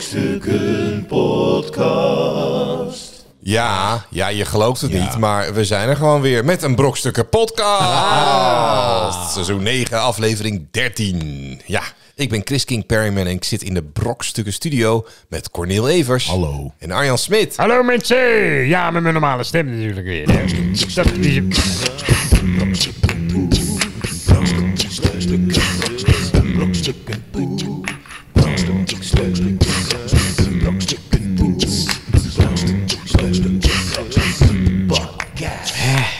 Brokstukken Podcast. Ja, ja, je gelooft het niet, maar we zijn er gewoon weer met een Brokstukken podcast. Ah. Seizoen 9, aflevering 13. Ja, ik ben Chris King Perryman en ik zit in de Brokstukken studio met Cornel Evers. Hallo. En Arjan Smit. Hallo mensen! Ja, met mijn normale stem natuurlijk weer. Dat is...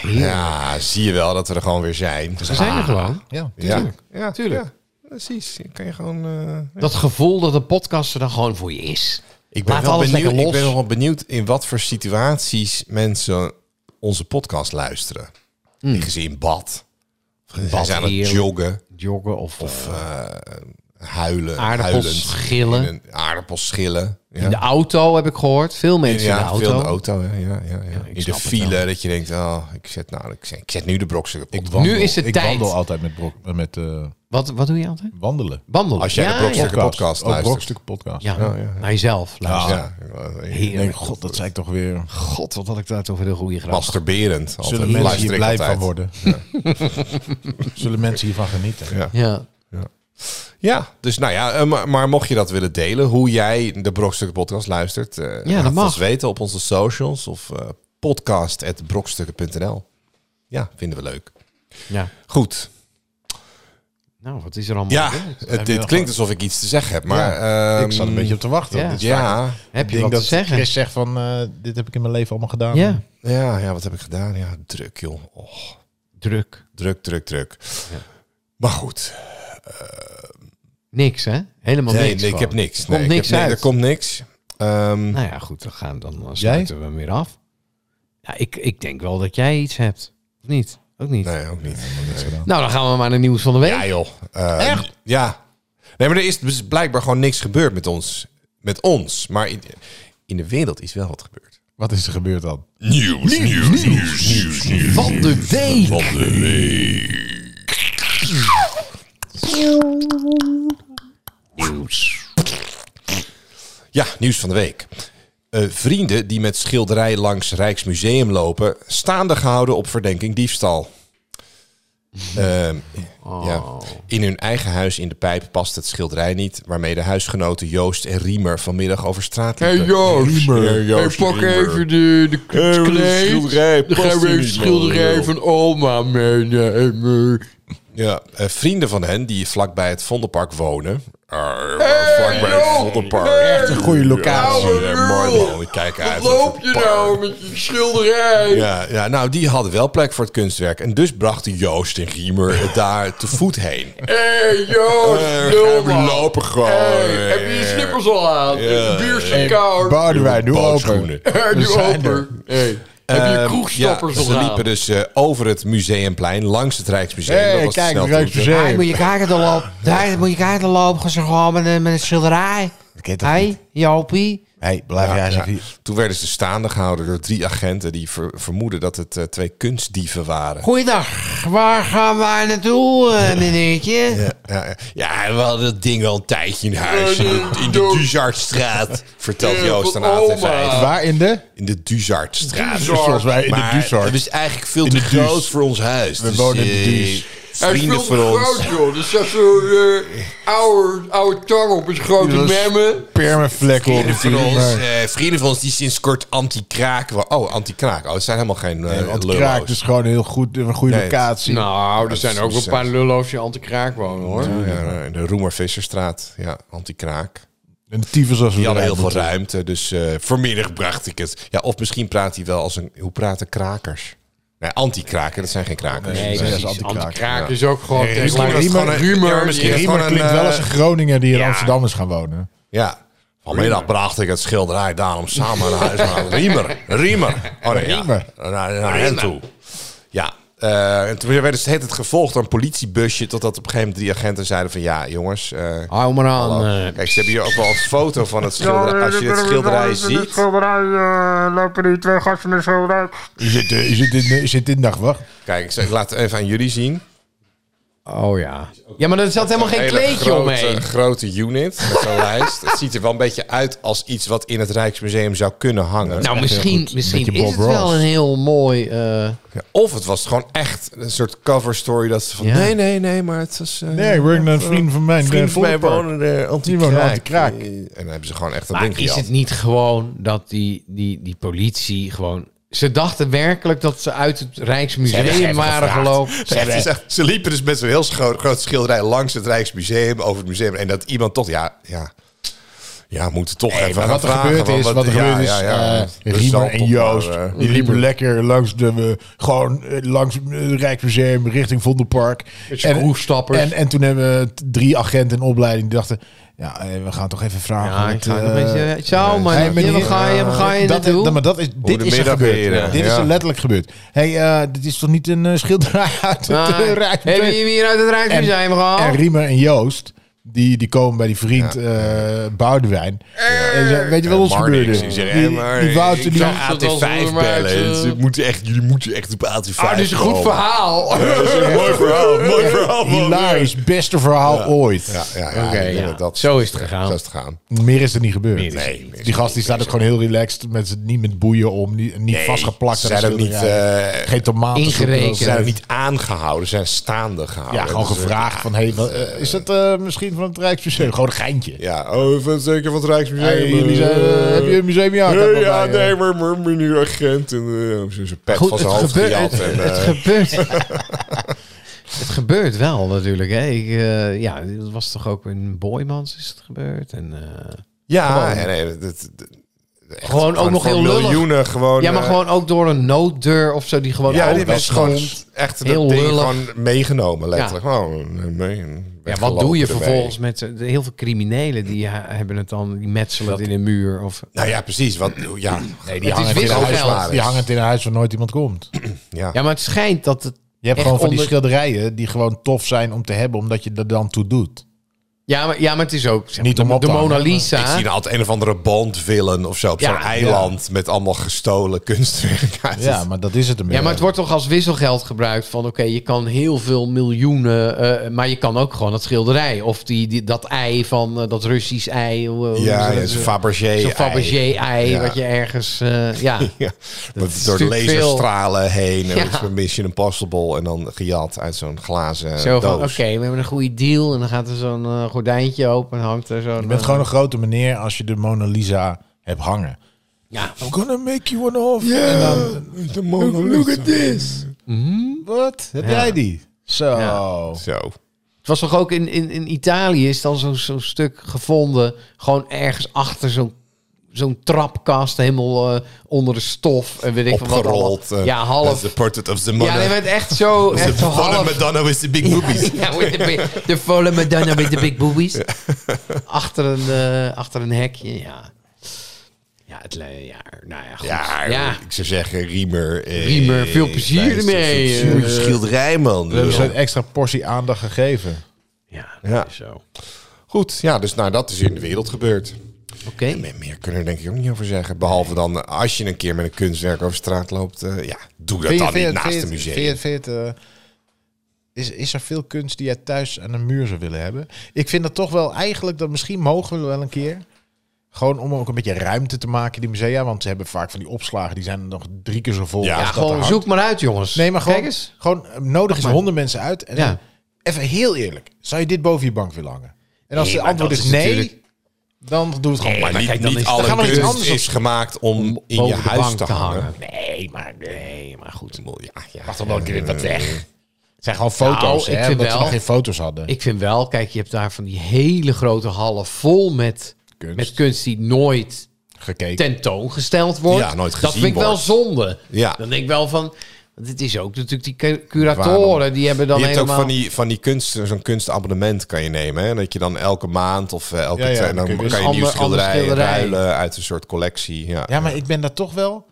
Ja, zie je wel dat we er gewoon weer zijn. Ah. Ze zijn er gewoon. Ja. Ja, ja, tuurlijk. ja, precies. Je Kan je gewoon... eh, Dat gevoel dat de podcast er dan gewoon voor je is. Ik ben, Laat wel alles benieuwd, lekker ik ben los. wel benieuwd in wat voor situaties mensen onze podcast luisteren. Liggen ze in bad? Zijn Hmm. bad, ze aan het heerlijk. joggen? Joggen of, of Huilen? Aardappels eh, huilend schillen. in een- Aardappels schillen. Ja, in de auto heb ik gehoord. Veel mensen Ja, in de veel auto. in de auto. Hè? Ja, ja, ja. in de snap het file dat je denkt, oh, ik, zet nou, ik, zet, ik zet nu de brokstukken podcast. wandel. Nu is het ik tijd. wandel altijd met, brok, eh, met eh, Wat, wat doe je altijd? wandelen. Wandelen. Als jij ja, de brokstukken podcast Ook luistert. Oh, brokstukken podcast. Ja, ja. naar jezelf luisteren. Ja, Ik denk, god, dat zei ik toch weer. God, wat had ik daar toch voor de goede grap. masturberend. Zullen Altijd. mensen hier Luister ik blij van altijd. worden? Zullen mensen hiervan genieten? Ja. Ja. Ja, dus nou ja, eh, maar, maar mocht je dat willen delen, hoe jij de Brokstukken Podcast luistert, eh, laat het mag. ons weten op onze socials of eh podcast.brokstukken.nl. Ja, vinden we leuk. ja. Goed. Nou, wat is er allemaal? Ja, gebeurd? het, dit klinkt alsof ik iets te zeggen heb, maar. ehm, ik zat een beetje op te wachten. ja. Dit is vaak- Ja, Heb Ik je wat denk te dat zeggen? Chris zegt van, eh, dit heb ik in mijn leven allemaal gedaan. Ja. ja, ja, wat heb ik gedaan? Ja, druk, joh. Och, Druk. druk, druk, druk. Maar goed, Niks, hè? Helemaal nee, niks. nee, ik gewoon. heb niks. Er Nee, Komt ik niks heb- nee, uit. er komt niks. Ehm, Nou ja, goed, dan, gaan, dan eh, Jij? sluiten we hem weer af. Ja, ik, ik denk wel dat jij iets hebt. Of niet? Ook niet. nee, ook niet. Nou, dan gaan we maar naar nieuws van de week. Ja, joh. Eh, Echt? Ja. Nee, maar er is dus blijkbaar gewoon niks gebeurd met ons. Met ons. Maar in, in de wereld is wel wat gebeurd. Wat is er gebeurd dan? Nieuws, nieuws, nieuws, nieuws, van de week. Ja, nieuws van de week. Eh, vrienden die met schilderij langs Rijksmuseum lopen, staande gehouden op verdenking diefstal. Ehm, ja. In hun eigen huis in de pijp past het schilderij niet, waarmee de huisgenoten Joost en Riemer vanmiddag over straat liepen. Joost, Hey, Joost, hey, pak Riemer. even de, de k- Hey, wat een kleed. schilderij, Dan past gaan we hier even niet, schilderij man. van oma mee. ja, en, eh, Ja, eh, vrienden van hen die vlakbij het Vondelpark wonen. Arr, vlakbij het Vondelpark. Echt een Goeie locatie. goeie. mooi man. Ik Kijk uit. Wat loop je Park. nou met je schilderij? Ja, ja, nou, die hadden wel plek voor het kunstwerk. En dus brachten Joost en Riemer het daar te voet heen. Hé, hey, Joost, Eh, lul, gaan we man. lopen gewoon. Hey, heb je Eh. je slippers al aan? Ja. De bier is koud. Boudewijn, doe open. Bootschoenen. Hey, nu open. Hey, heb je Ehm, kroegstappers ja, al Ze aan? liepen dus eh, over het museumplein, langs het Rijksmuseum. Hé, Dat was de kijk, snelroute. Rijksmuseum. moet je kijken erop. Daar moet je kijken erop. Gaan ze gewoon met een, met een schilderij. ken je toch Hé, Jopie. hey, blijf Ja, jij eens ja. even- Toen werden ze staande gehouden door drie agenten die ver- vermoeden dat het eh, twee kunstdieven waren. Goeiedag. Waar gaan wij naartoe, eh, meneertje? Ja, ja, ja, we hadden dat ding al een tijdje in huis. In de, in de Duzartstraat, vertelt Eh, Joost van aan ATV. oma. Uh, Waar in de? In de Duzartstraat. Duzart. Volgens mij in de Maar Duzart. Het is eigenlijk veel te de Duus. groot voor ons huis. We wonen in de eh, Duus. Hij is Vrienden veel te voor ons. groot, joh. Er staat zo'n eh, oude, oude tang op een grote Dat is- memmen. Permaflek op Vrienden van ons, natuurlijk. eh, vrienden van ons die sinds kort anti-kraak... wa- Oh, anti-kraak. Oh, het zijn helemaal geen eh Want lullo's. Kraak is gewoon een heel goed, een goede Nee, het- locatie. Nou, er zijn is ook wel een paar ontzettend. lulloofjes die aan te kraak wonen, hoor. Ja, ja, in de Roemer-Visserstraat. Ja, anti-kraak. En de tyfus als we Die hadden heel eruit moeten. veel ruimte, dus eh vanmiddag bracht ik het. Ja, of misschien praat hij wel als een... Hoe praten krakers? Nee, anti-kraken, dat zijn geen krakers. Nee, dat dat is is anti-kraak. Kraak is ook gewoon misschien tegenwoordig was het gewoon gewoon een een- rumor. ja, misschien- die- Riemer Gewoon een, klinkt wel als een Groninger die in Amsterdam is gaan wonen. Ja. Vanmiddag bracht ik het schilderij daarom samen naar huis. naar Riemer. Riemer. Oh nee, ja. Riemer. Naar, naar hen toe. Ja. eh, en toen werden ze het, het gevolgd door een politiebusje. Totdat op een gegeven moment drie agenten zeiden van... Ja, jongens. eh, Hou maar aan. hallo. eh. Kijk, ze hebben hier ook wel een foto van het schilderij. Als je het schilderij ziet. schilderij eh, lopen die twee gasten in de schilderij. Je zit, eh, je zit, in, je zit in nachtwacht. Kijk, ik zeg, ik laat het even aan jullie zien. Oh ja. Ja, maar er zat helemaal geen Een hele kleedje grote, omheen. grote unit met zo'n lijst. Het ziet er wel een beetje uit als iets wat in het Rijksmuseum zou kunnen hangen. Nou, misschien, misschien Beetje is het Bob Ross. wel een heel mooi... eh, Ja, Of het was gewoon echt een soort cover story dat ze van... Ja. Nee, nee, nee, maar het was... eh, Nee, ik werk naar een vriend van mij. in Vriend de van mij Vondelpark. wonen er Die wonen anti-kraak. Antikraak. Eh, En dan hebben ze gewoon echt een maar ding is het gejat. niet gewoon dat die, die, die politie gewoon... Ze dachten werkelijk dat ze uit het Ze Rijksmuseum hebben waren gevraagd. gelopen. Ze, het is echt- ze liepen dus met zo'n heel scho- groot schilderij langs het Rijksmuseum, over het museum. En dat iemand toch, ja, ja, ja we moeten toch even Maar gaan wat er vragen. gebeurd want is, wat er gebeurd is, Ja, ja, eh, Dus Riemer dan en toch Joost, maar, eh, die liepen lekker langs de, eh, gewoon eh, langs het Rijksmuseum richting Vondelpark. zijn kroegstappers. En, en toen hebben we t- drie agenten in opleiding die dachten, ja, eh, we gaan toch even vragen. Ja, wat, ik ga een eh, beetje... Zo, man. hey, meneer, eh, waar ga eh, je, waar ga je dat, naartoe? dat- maar dat is, dit is er Goedemiddag, gebeurd. heren. Dit is Ja. er letterlijk gebeurd. Hey, eh, dit is toch niet een eh, schilderij uit het Ah, eh, Hebben Rijksmuseum? jullie hem hier uit het En, Rijksmuseum gehaald? en Riemer en Joost, die, die komen bij die vriend eh, Boudewijn. En ze- weet je wat Eh, ons Marnix, gebeurde? die zegt, Die- eh, maar die ik- Wouter, ik die- zag Ja, dat was AT5 wel maar, bellen. eh, Ze moeten dus echt, jullie moeten echt op AT5 Ah, dit is een goed komen. verhaal. Dat is een mooi verhaal. Mooi verhaal. man. Hilarisch, beste verhaal ooit. Ja, ja, ja, Oké, ik denk ja. dat dat- Zo is het gegaan. Zo is het gegaan. Meer is er niet gebeurd. is er Nee, niet. die gast die staat ook gewoon heel relaxed, met, z'n- niet met boeien om, niet, niet vastgeplakt. Ze aan zijn een ook niet, schilderij. eh, Geen tomaten. Ingerekend. ze zijn ook niet aangehouden. Ze zijn staande gehouden. Ja, gewoon Dus, eh, gevraagd van, hey, wat, eh, is dat eh, misschien van het Rijksmuseum? Gewoon een geintje. Ja, oh, even zeker van het Rijksmuseum. Hey, jullie zijn, eh, heb je eh, een museumjaar? Nee, ja, nee, maar, maar meneer agent. En eh, zijn zijn pet van Goed, zijn het hoofd gebeurt. gejat. Het, en, het eh, gebeurt. het gebeurt wel natuurlijk. Hè. Ik, eh, ja, dat was toch ook in Boymans is het gebeurd. En, eh, ja, nee, nee, dat- dat- dat- echt Gewoon ook nog voor heel lullig. miljoenen gewoon. ja, maar eh, gewoon ook door een nooddeur of zo die gewoon Ja, open die mensen stond. gewoon echt dat Heel ding lullig. gewoon meegenomen, letterlijk. Gewoon, eh, mee, Ja, weggelopen wat doe je ermee. vervolgens met de, de heel veel criminelen die ha- hebben het dan, die metselen het in een muur of... Nou ja, precies. Wat, ja, nee, Het is hangen in wisselgeld. huis waar- Die hangen in een huis waar nooit iemand komt. Ja. Ja, maar het schijnt dat het... Je hebt Echt gewoon van die onder- schilderijen die gewoon tof zijn om te hebben, omdat je er dan toe doet. Ja, maar, ja, maar het is ook... zeg maar, Niet om de, op te de Mona hangen. Ik Lisa... zie dan altijd een of andere bondvillen of zo op Ja, zo'n eiland met allemaal gestolen kunstwerk uit. Ja, maar dat is het Ja, maar het wordt toch als wisselgeld gebruikt van oké, je kan heel veel miljoenen, eh, maar je kan ook gewoon dat schilderij of die, die, dat ei van eh, dat Russisch ei. hoe- hoe ja, is ja, dat? zo'n Fabergé. Zo'n ei. Fabergé-ei Ja. wat je ergens... eh, ja. Ja, is met door natuurlijk laserstralen heen. Ja. En dat is een Mission Impossible. En dan gejat uit zo'n glazen Zo van, doos. oké, we hebben een goede deal. En dan gaat er zo'n eh, gordijntje open en hangt er zo'n... Je bent eh, gewoon een grote meneer als je de Mona Lisa hebt hangen. Ja. I'm gonna make you one off. de Mona Look at this. Wat? Heb Ja. jij die? Zo. Ja. Zo. Het was toch ook in, in, in Italië is dan zo'n zo'n stuk gevonden. Gewoon ergens achter zo'n zo'n trapkast. Helemaal eh, onder de stof. En weet ik van wat Opgerold. allemaal. eh, Ja, that's half. The portrait of the Ja, Mona. nee, maar het echt zo... the Echt zo Mona half... Madonna with the big boobies. Ja, with the, big- de volle Madonna met de big boobies. Achter een, eh, achter een hekje, ja. Ja, het le- ja, nou ja, goed. Ja, ja. ik zou zeggen, Riemer. eh, Riemer, veel plezier luister, ermee, veel plezier met eh. je schilderij, man. We hebben ze een extra portie aandacht gegeven. Ja, dat Ja. is zo. Oké. Goed, ja, dus nou, dat is in de wereld gebeurd. Meer, meer kunnen we er denk ik ook niet over zeggen. Behalve dan, eh, als je een keer met een kunstwerk over straat loopt, eh, ja, doe dat Vind je- dan vind niet je- naast vind je- een museum. vind je- vind je het, eh, is, is er veel kunst die jij thuis aan een muur zou willen hebben? Ik vind dat toch wel eigenlijk, dat misschien mogen we wel een keer. Gewoon om ook een beetje ruimte te maken, die musea. Want ze hebben vaak van die opslagen, die zijn nog drie keer zo vol. Ja, als Ja, dat er gewoon hangt. zoek maar uit, jongens. Nee, maar Kijk gewoon, eens. gewoon eh, nodig is maar. honderd mensen uit. En Ja. dan- even heel eerlijk, zou je dit boven je bank willen hangen? En als Nee, de maar antwoord dat is, is nee, natuurlijk- dan doe het gewoon. Oh, maar niet, kijk, dan niet is- alle dan gaan we iets kunst anders op- is gemaakt om in je Boven de huis bank te hangen. Nee, maar, nee, maar goed. Ja, ja. Wacht dan wel een keer dat weg. Het zijn gewoon foto's, Nou, ik hè? vind Omdat ze wel- nog geen foto's hadden. Ik vind wel, kijk, je hebt daar van die hele grote hallen vol met Kunst. met kunst die nooit gekeken. tentoongesteld wordt. Ja, nooit dat gezien vind ik wel wordt. zonde. Ja. Dan denk ik wel van, want het is ook natuurlijk die cu- curatoren, die hebben dan je hebt helemaal... ook van die, van die kunst, zo'n kunstabonnement kan je nemen. Hè? Dat je dan elke maand of eh, elke Ja, ja, twee- dan dan, kun je kan dus je nieuwe ander- ander schilderijen schilderij. ruilen uit een soort collectie. Ja, Ja, maar ik ben daar toch wel.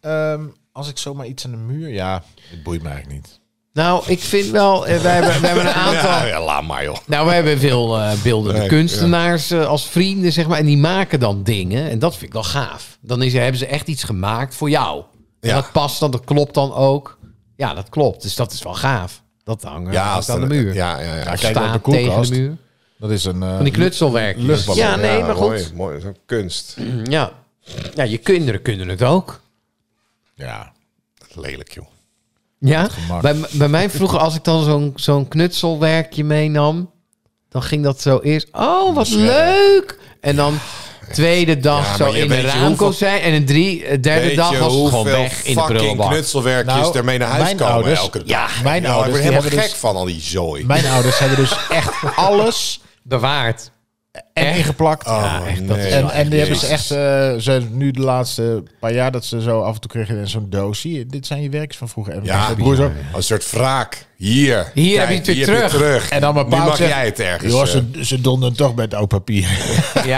ehm, als ik zomaar iets aan de muur. Ja, het boeit me eigenlijk niet. Nou, ik vind wel, eh, wij hebben, wij hebben een aantal... Ah, Ja, ja, laat maar joh. Nou, wij hebben veel eh, beeldende Nee, kunstenaars eh, als vrienden, zeg maar. En die maken dan dingen. En dat vind ik wel gaaf. Dan is, hebben ze echt iets gemaakt voor jou. En Ja. dat past dan, dat klopt dan ook. Ja, dat klopt. Dus dat is wel gaaf. Dat hangen Ja, ja, als aan de er- muur. Ja, ja, ja. Of kijk op de staat tegen koelkast. de muur. Dat is een... eh, Van die knutselwerkjes. luchtballon. Ja, nee, maar mooi, goed. Mooi, zo'n kunst. Ja. ja, je kinderen kunnen het ook. Ja. Lelijk, joh. Ja, gemak. bij, m- bij mij vroeger, als ik dan zo'n zo'n knutselwerkje meenam, dan ging dat zo eerst, oh wat leuk! En dan tweede dag Ja, zo maar je in de weet je raamkozijn en een drie, eh, derde Weet dag je was het gewoon hoeveel weg in de fucking prullenbak. knutselwerkjes Nou, daarmee naar huis mijn komen ouders- elke dag? Ja, mijn ouders, die Nou, Ik word helemaal hebben gek dus- van al die zooi. Mijn ouders hebben dus echt alles Bewaard. en ingeplakt. Oh, echt, dat is nee. En, en die hebben ze echt, Jezus. eh, ze, nu de laatste paar jaar dat ze zo af en toe kregen in zo'n doos. Zie je, dit zijn je werkjes van vroeger. En Ja, mijn broer zo. een soort wraak. Hier. Hier heb je het weer terug. En dan mijn Nu pa mag zegt, jij het ergens. Joh, eh, ze, ze donderen toch met oud papier. Ja,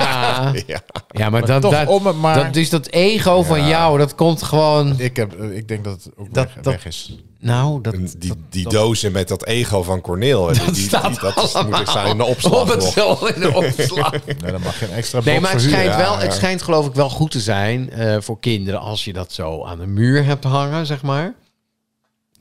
ja. ja maar, dat, toch dat, om het maar. dat, dus dat ego van jou, dat komt gewoon, ik, heb, eh, ik denk dat het ook Dat- weg, dat- weg is. nou, dat, En die, die dozen met dat ego van Corneel. hè, die- die, staat die- dat is- moet ik allemaal staan in de op opslag. het nog. zo in de opslag. Nee, dan mag je een extra Nee, box maar het verhuren. schijnt, wel, ja. het schijnt geloof ik wel goed te zijn eh, voor kinderen als je dat zo aan de muur hebt hangen, zeg maar.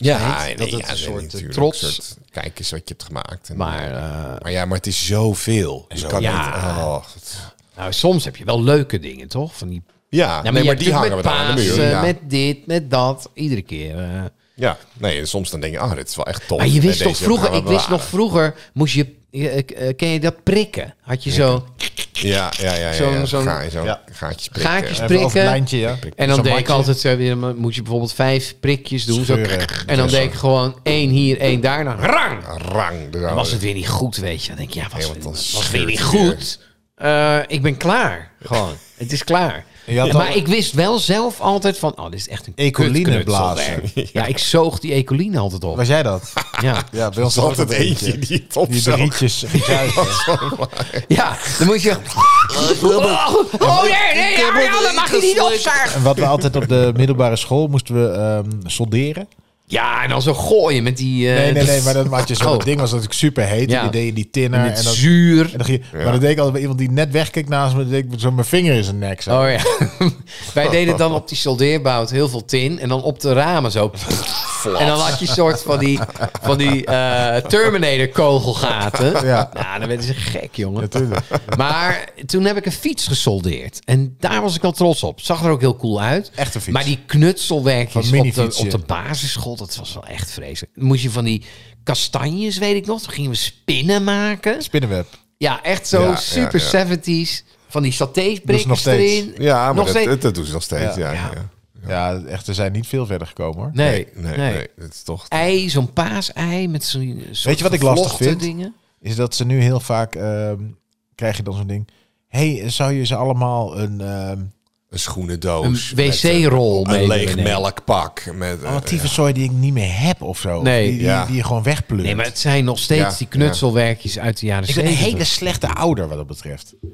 Ja, Schijnt nee, dat ja, het een nee, soort eh, natuurlijk, trots. een soort, kijk eens wat je hebt gemaakt. En, Maar eh, eh, maar ja, maar het is zoveel. Je kan ja. niet... oh, het- nou, soms heb je wel leuke dingen, toch? Van die, ja, nee, je maar hebt die hangen we natuurlijk dan aan de met muur. Pasen, ja. Met dit, met dat, iedere keer. eh. ja, nee, en soms dan denk je, ah, dit is wel echt tof. Maar je En wist toch deze gaan vroeger, we ik wist bewaren. nog vroeger, moest je, eh, eh, ken je dat prikken? Had je zo Ja, ja, ja. ja, Zo'n- ja. zo'n- Ga- zo'n Ja. gaatjes prikken. gaatjes Even over het prikken? lijntje, ja. En dan Zo'n deed ik bandje. altijd zo weer, dan moet je bijvoorbeeld vijf prikjes doen. Zo, Scheuren. en dan deed ik gewoon één hier, één daar. Dan rang! Rang. Dan Oh, daar- was het weer niet goed, weet je. Dan denk ik, ja, was, Ja, want dan was scheurt weer niet het goed. Eh, ik ben klaar. Gewoon. het is klaar. Je had maar al- ik wist wel zelf altijd van, oh, dit is echt een Ecoline kutknutselwerk. blazen. Ja. ik zoog die ecoline altijd op. Was jij dat? Ja. Ja, bij ons Er was altijd ook een eentje eentje. die het Die opzag. drietjes. ja, dan moet je... Oh, oh nee, nee, Arjan, dat mag je niet opzuigen. En wat we altijd op de middelbare school moesten we ehm, solderen. Ja, en dan zo gooien met die... eh, Nee, nee, nee, maar dat had je zo'n Oh. ding was natuurlijk super heet. Ja. En die deed je die met tinner. En dat, zuur. en dan ging je- Maar dat deed ik altijd bij iemand die net wegkeek naast me. Dan deed ik zo mijn vinger in zijn nek. Zo. Oh ja. Wij deden dan op die soldeerbout heel veel tin. En dan op de ramen zo. En dan had je een soort van die, van die eh, Terminator-kogelgaten. Ja. Nou, dan werden ze gek, jongen. Natuurlijk. Maar toen heb ik een fiets gesoldeerd. En daar was ik wel trots op. Zag er ook heel cool uit. Echt een fiets. Maar die knutselwerkjes Van op de, minifietsje. op de basisschool, dat was wel echt vreselijk. Dan moest je van die kastanjes, weet ik nog. Toen gingen we spinnen maken. Spinnenweb. Ja, echt zo Ja, ja, super ja. 70s. Van die Doen ze nog satébrikkers steeds. erin. Ja, maar Nog dat, steeds. dat, dat doen ze nog steeds. Ja, Ja. ja. ja. Ja, echt, er zijn niet veel verder gekomen hoor. Nee, nee, nee. Dat is toch... Ei, zo'n paasei met zo'n Weet je wat ik lastig vind? Dingen. Is dat ze nu heel vaak, ehm, krijg je dan zo'n ding. Hé, hey, zou je ze allemaal een... ehm Een Een schoenendoos. met, eh, wc-rol mee Een leeg willen nemen. melkpak. Met, eh, oh, tyfuszooi die ik niet meer heb of zo. Nee. Die, die, Ja. die je gewoon wegpleurt. Nee, maar het zijn nog steeds Ja, die knutselwerkjes uit de jaren ik ben een 70. hele slechte ouder wat dat betreft. eh,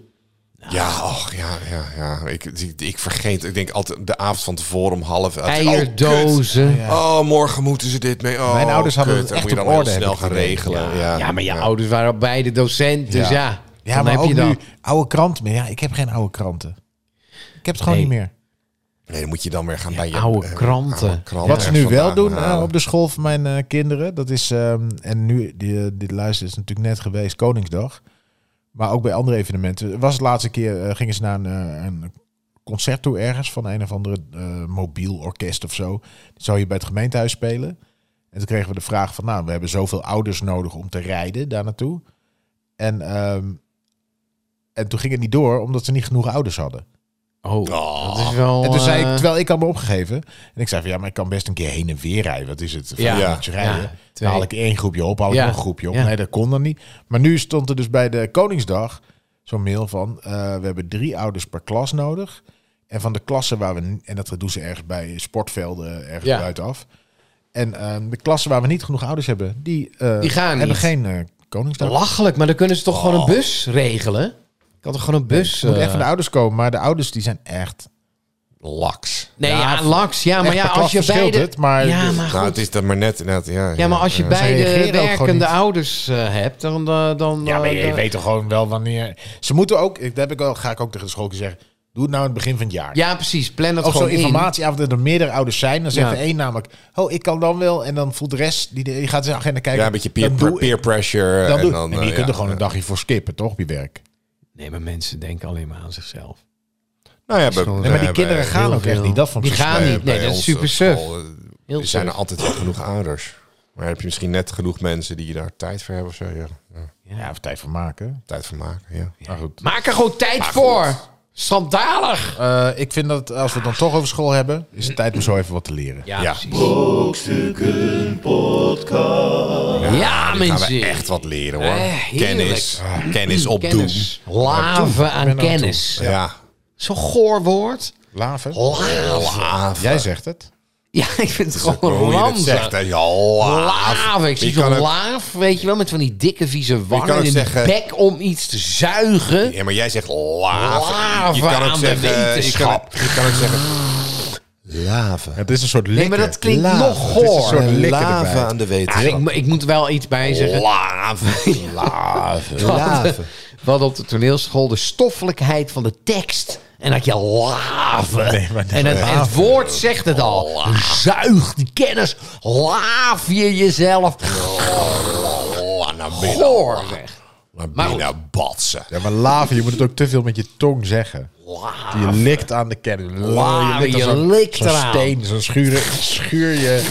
Ja, och, ja, ja, ja. Ik, ik, ik vergeet. Ik denk altijd de avond van tevoren om half elf. Oh, kut. Eierdozen. Ja. Oh, morgen moeten ze dit mee. Oh, Mijn ouders hadden kut. het Dan echt moet je op dan heel orde, snel heb ik gaan het idee. regelen. Ja. Ja, Ja, maar je ouders waren al beide docent, dus ja. Ja, dan maar heb ook je dan. nu oude kranten meer. Ja, ik heb geen oude kranten. Ik heb het gewoon Nee. niet meer. Nee, dan moet je dan weer gaan bij je oude eh, kranten. oude kranten Wat ze nu vandaan wel doen eh, halen. op de school van mijn eh, kinderen, dat is, ehm, en nu, die, eh, dit luister is natuurlijk net geweest, Koningsdag. Maar ook bij andere evenementen. Was het laatste keer, eh, gingen ze naar een, eh, een concert toe ergens van een of andere eh, mobiel orkest of zo. Die zou je bij het gemeentehuis spelen. En toen kregen we de vraag van, nou, we hebben zoveel ouders nodig om te rijden daar naartoe. En, ehm, en toen ging het niet door, omdat ze niet genoeg ouders hadden. eh, Oh, Oh. dat is wel... En toen zei ik, eh, terwijl ik had me opgegeven. En ik zei van ja, maar ik kan best een keer heen en weer rijden. Wat is het? Ja. Ja, Ja. uurtjes rijden. Ja, dan twee. haal ik één groepje op, haal ik Ja. nog een groepje op. Ja. Nee, dat kon dan niet. Maar nu stond er dus bij de Koningsdag zo'n mail van... eh, we hebben drie ouders per klas nodig. En van de klassen waar we... n- En dat doen ze ergens bij sportvelden, ergens Ja. buitenaf. En ehm, de klassen waar we niet genoeg ouders hebben... die, eh, Die gaan hebben niet. geen eh, Koningsdag. belachelijk, maar dan kunnen ze toch gewoon een bus regelen? Ik had toch gewoon een bus... Er Oh. moet eh, echt van de ouders komen. Maar de ouders die zijn echt... Laks. Nee, Ja, ja, laks. Ja, maar echt ja, per als klas je verschilt beide... het, maar- ja, maar Nou, goed. het is dat maar net. inderdaad, Ja, Ja, maar als Eh, je reageren beide ook gewoon werkende niet. ouders eh, hebt, dan... eh, dan Ja, maar eh, je dan- weet toch gewoon wel wanneer. Ze moeten ook, dat heb ik wel, ga ik ook tegen de school zeggen. Doe het nou aan het begin van het jaar. Ja, precies. Plan dat Of zo gewoon in. informatie af dat er meerdere ouders zijn. Dan zegt Ja. de één namelijk, oh, ik kan dan wel. En dan voelt de rest, die, die gaat zijn agenda kijken. ja, een beetje peer, dan doe ik- peer pressure. dan doe ik. dan, en eh, die ja. kunnen gewoon een dagje voor skippen, toch, op je werk. Nee, maar mensen denken alleen maar aan zichzelf. Nou ja, bij- Nee, maar Nee, maar die bij- kinderen bij- gaan heel ook echt veel. niet. Dat vond ik Die zo gaan sneu. niet. Nee, bij dat is ons super op suf. school, eh, Heel Er zijn er suf. altijd wel genoeg ouders. Maar heb je misschien net genoeg mensen die daar tijd voor hebben of zo? Ja, ja. Ja, of tijd voor maken. tijd voor maken, ja. Maar goed. Maak er gewoon tijd voor. Schandalig. Eh, ik vind dat als we het dan toch over school hebben, is het tijd om zo even wat te leren. Ja, Ja. precies. Ja, Nu gaan mensen. we echt wat leren, hoor. Eh, heerlijk. Ah, kennis. Kennis opdoen. kennis. Laven aan kennis. Ja. Zo'n goor woord. Laven. Laven. Jij zegt het. Ja, ik vind het gewoon Hoe je dat ranzig. zegt, hè? Ja, laaf. Laaf, ik zie Je kan zo'n ook- laaf, weet je wel, met van die dikke vieze kan wangen ook in zeggen- de bek om iets te zuigen. Ja, maar jij zegt laaf. Laven je kan ook aan de zeggen... je, kan, wetenschap. je kan ook zeggen... Laven. Het is een soort likken. Nee, maar dat klinkt Laven. nog Het is een goor. soort likken Laven erbij. aan de Ah, ik, wetenschap. mo- ik moet er wel iets bij zeggen. Laven. Laven. Laven. We hadden op de toneelschool de stoffelijkheid van de tekst. En dat je laven. Nee, maar en het, het woord zegt het al. Zuig die kennis. Laaf je jezelf. Naar Goor. binnen. weg. Naar Maar goed. binnen batsen. Ja, maar laven, je moet het ook te veel met je tong zeggen. Oh, Je likt aan de kern. Laven, aan je zo'n- likt zo'n eraan. steen, zo'n schuur, schuur je...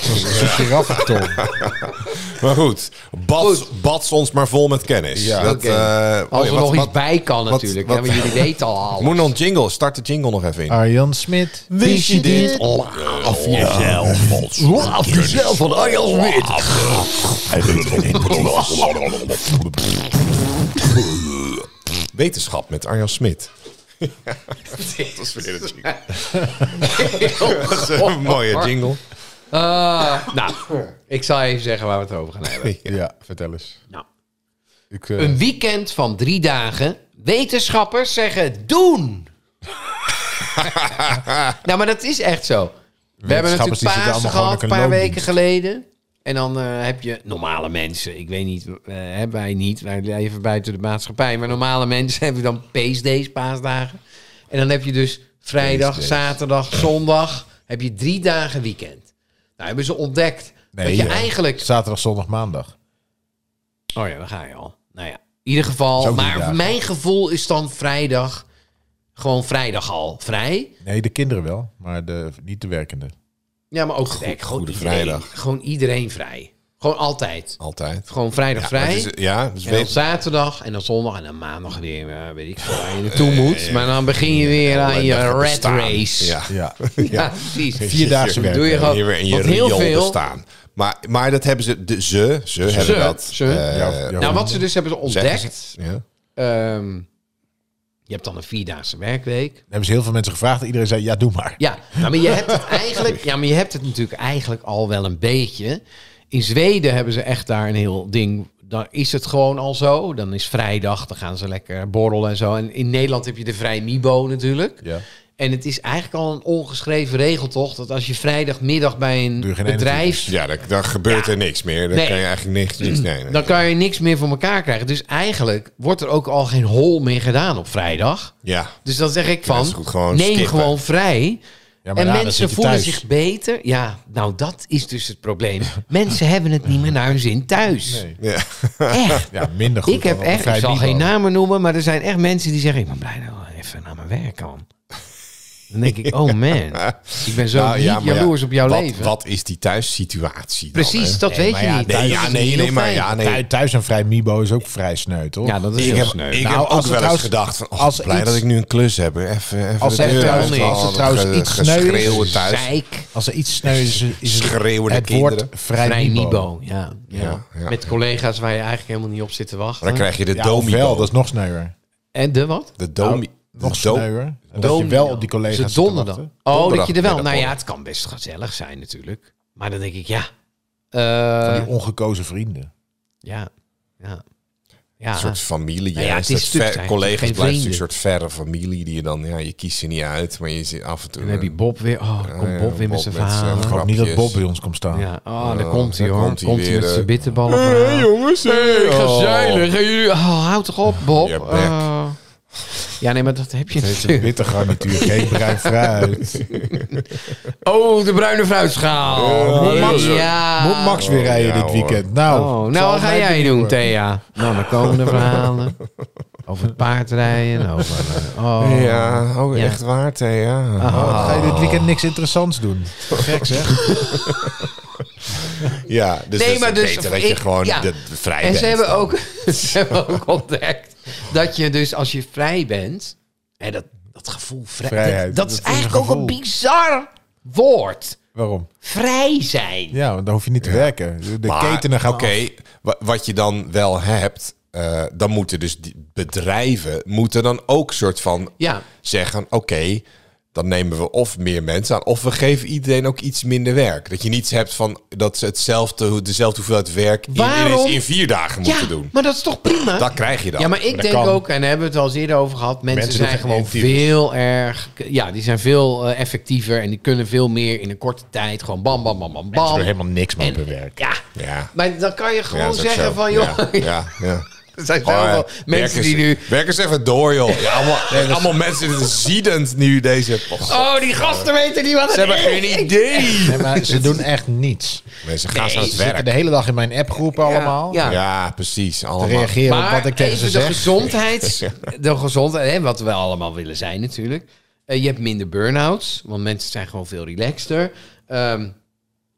Zo'n zo'n giraffentong. Maar goed, bats, bats ons maar vol met kennis. Ja, Dat, oké. eh, oh Als ja, er wat- nog iets wat- bij kan wat- natuurlijk. wat- ja, maar jullie weten al Ik alles. Moet nog een jingle. Start de jingle nog even in. Arjan Smit. Wist je dit? Eh, Laaf jezelf. Laaf jezelf van Arjan Wit. Wetenschap met Arjan Smit. Dit is weer een heel Dat is Oh, een mooie jingle. Ah, nou, ik zal even zeggen waar we het over gaan hebben. Ja, vertel eens. Nou, Ik, eh, een weekend van drie dagen. Wetenschappers zeggen doen. nou, maar dat is echt zo. We hebben Wetenschappers natuurlijk die zitten Pasen allemaal gewoon gehad in een een paar loondienst. weken geleden. En dan eh, heb je normale mensen. Ik weet niet, eh, hebben wij niet. Wij leven buiten de maatschappij. Maar normale mensen hebben dan paasdays, paasdagen. En dan heb je dus vrijdag, zaterdag, zondag. Heb je drie dagen weekend. Nou hebben ze ontdekt dat je joh. eigenlijk Zaterdag, zondag, maandag. Oh ja, daar ga je al. Nou ja, in ieder geval. Zo drie Maar dagen. mijn gevoel is dan vrijdag. Gewoon vrijdag al vrij. Nee, de kinderen wel, maar de, niet de werkenden. Ja, maar ook gek. Gewoon goede iedereen, vrijdag. Gewoon iedereen vrij. Gewoon altijd. Altijd. Gewoon vrijdag Maar vrij. het is- ja, dus en dan weet, zaterdag en dan zondag en dan maandag weer, eh, weet ik veel, waar je naartoe moet. Maar dan begin je weer aan ellendig je red bestaan. race. Ja. Ja. Ja, precies. Vierdaagse werk. Doe je gewoon, Hier weer in je want heel riool veel, bestaan. Maar, maar dat hebben ze... De, ze, ze hebben Ze, dat. ze. eh, Ja, ja. Nou, wat ze dus hebben zeggen ze- ontdekt. Ja. ehm, je hebt dan een vierdaagse werkweek. hebben ze heel veel mensen gevraagd. en Iedereen zei, ja, doe maar. Ja, nou, maar je hebt het eigenlijk, ja, maar je hebt het natuurlijk eigenlijk al wel een beetje. In Zweden hebben ze echt daar een heel ding. Dan is het gewoon al zo. Dan is vrijdag, dan gaan ze lekker borrelen en zo. En in Nederland heb je de Vrij Mibo natuurlijk. Ja. En het is eigenlijk al een ongeschreven regel toch... dat als je vrijdagmiddag bij een Doe je geen ene bedrijf... Ja, dan, dan gebeurt er niks meer. Dan Nee. kan je eigenlijk niks... niks nee, nee. dan kan je niks meer voor elkaar krijgen. Dus eigenlijk wordt er ook al geen hol meer gedaan op vrijdag. Ja. Dus dan zeg ik van, is goed, gewoon neem skippen. gewoon vrij. Ja, maar en ja, dan mensen zit je voelen thuis. zich beter. Ja, nou dat is dus het probleem. mensen hebben het niet meer naar hun zin thuis. Nee. Ja. Echt. Ja, minder goed. ik heb dan op de echt, ik Vrij zal Mibo. geen namen noemen, maar er zijn echt mensen die zeggen... ik ben blij dat ik even naar mijn werk kan. Dan denk ik, oh man, ik ben zo Nou, niet ja, maar ja, jaloers op jouw wat, leven. Wat is die thuissituatie dan, Precies, hè? dat weet maar je ja, niet. Nee, Dat ja, is nee, niet nee, heel maar fijn. ja, nee. Thuis- Thuis een Vrij Mibo is ook vrij sneu, toch? Ja, dat is Ik heel heb, sneu. ik Nou, heb als ook het wel eens trouwens- gedacht van, oh, als blij iets- dat ik nu een klus heb. hè. Even, even Als de er deur trouwens- uit. als er Oh, trouwens ge- iets geschreeuw sneu is, thuis. Zeik. Als er iets sneu is, is het- Schreeuwende het kinderen. woord Vrij, Vrij Mibo. Mibo, ja, ja. Ja, ja. Met collega's waar je eigenlijk helemaal niet op zit te wachten. Dan krijg je de Ja, domi. ofwel, dat is nog sneuwer. En de wat? De domi. Nog de do- sneuwer. Dat je wel op die collega's Ze zit te donderdag. wachten. Oh, dat Donderdag je er wel. Nou middag, ja, het kan best gezellig zijn natuurlijk. Maar dan denk ik, ja. Van Eh die ongekozen vrienden. ja. Ja. Ja. Een soort familie. Nou ja, hè. het Een is soort natuurlijk ver- eigenlijk collega's geen blijft een vrienden. soort verre familie die je dan, ja, je kiest ze niet uit, maar je zit af en toe. En dan heb je Bob weer. Oh, dan komt ja, Bob weer met Bob zijn met zijn verhaal. Ik hoop niet dat Bob bij ons komt staan. Ja, oh, daar Oh, komt hij daar hoor. komt Komt hij hij weer, met zijn eh. bitterballen. verhaal. jongens, hey, Ik ga oh. zeilen. Ga jullie... Oh, houd toch op, Bob. Je bek. Eh, Ja, nee, maar dat heb je Het is een natuurlijk. witte garnituur, geen bruin fruit. Oh, de bruine fruitschaal. Ja, Nee, Max- ja. Moet Max weer rijden ja, dit hoor. weekend? Nou, Ah. Oh, het zal nou, wat ga mij jij benieuwen. doen, Thea? Nou, dan komen de verhalen. Over het paardrijden, over... eh, oh. Ja, oh, Ja. echt waar, Thea. Oh, ga je dit weekend niks interessants doen? Gek zeg. Ja, dus Nee, het is maar dus- beter dat ik- je gewoon ja. de, de vrij En bent. ze hebben, dan. ook, ze hebben ook ontdekt dat je dus als je vrij bent... Hè, dat, dat gevoel vrij... Vrijheid, dat, dat is is een eigenlijk ook een gevoel. bizar woord. Waarom? Vrij zijn. Ja, want dan hoef je niet te werken. De Maar, ketenen gaan Oké, wa- wat je dan wel hebt, eh, dan moeten dus die bedrijven moeten dan ook soort van Ja, zeggen: oké, dan nemen we of meer mensen aan, of we geven iedereen ook iets minder werk. Dat je niets hebt van dat ze hetzelfde, dezelfde hoeveelheid werk in, in, Waarom? in vier dagen ja moeten doen. maar dat is toch prima? Dat krijg je dan. Ja, maar ik dat denk kan. ook, en daar hebben we het al eens eerder over gehad, mensen, Mensen zijn doen gewoon geen types. veel erg. Ja, die zijn veel eh, effectiever en die kunnen veel meer in een korte tijd. Gewoon bam, bam, bam, bam, Ze bam. doen helemaal niks meer En- op hun werk. Ja, ja. maar dan kan je Ja, gewoon dat is ook zeggen zo. van, joh, Ja, ja, ja. er zijn zoveel mensen werkers, die nu... Werkers even door, joh. Ja, allemaal, allemaal mensen die ziedend nu deze... Oh, die gasten weten niet wat Ze het hebben is. geen idee. Nee, maar ze doen echt niets. Mensen gaan zo aan Ze het zitten werk. de hele dag in mijn appgroepen allemaal. Ja. Ja, precies. Te Allemaal. reageren op Maar wat ik tegen ze even de zeg. gezondheid, de gezondheid, hè, wat we allemaal willen zijn natuurlijk. Eh, je hebt minder burn-outs, want mensen zijn gewoon veel relaxter. Ehm,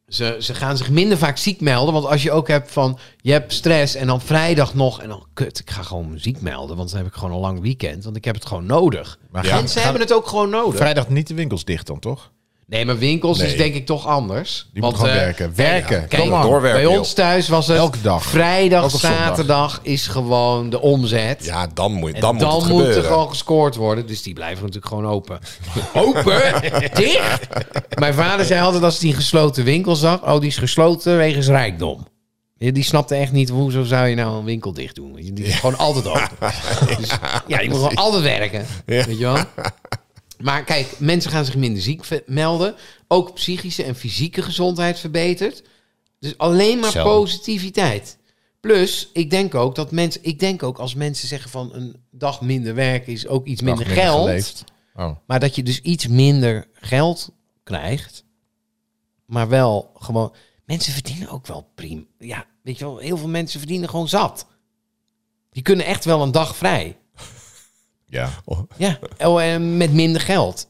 ze, ze gaan zich minder vaak ziek melden, want als je ook hebt van, je hebt stress en dan vrijdag nog en dan, kut, ik ga gewoon me ziek melden, want dan heb ik gewoon een lang weekend, want ik heb het gewoon nodig. Maar Ja. gaan- Mensen gaan hebben het ook gewoon nodig. vrijdag niet de winkels dicht dan, toch? Nee, maar winkels is Nee. denk ik toch anders. Die moeten eh, gewoon werken. Werken. Kijk, Kom aan. door. bij doorwerken, ons thuis was het Elke dag. vrijdag, Elke zondag. zaterdag is gewoon de omzet. Ja, dan moet, En dan moet het moet er gebeuren. gewoon gescoord worden. Dus die blijven natuurlijk gewoon open. open? Dicht? Mijn vader zei altijd als hij een gesloten winkel zag... Oh, die is gesloten wegens rijkdom. Ja, Die snapte echt niet, hoezo zou je nou een winkel dicht doen? Weet je, Die is gewoon altijd open. Dus, ja, je moet gewoon altijd werken. Weet je wel? Maar kijk, mensen gaan zich minder ziek ve- melden. Ook psychische en fysieke gezondheid verbetert. Dus alleen maar Zo. positiviteit. Plus, ik denk ook dat mensen, ik denk ook als mensen zeggen van een dag minder werk is ook iets minder, minder geld. geleefd. Oh. Maar dat je dus iets minder geld krijgt. Maar wel gewoon. Mensen verdienen ook wel prima. Ja, weet je wel, heel veel mensen verdienen gewoon zat. Die kunnen echt wel een dag vrij. Ja. Ja, oh, en met minder geld.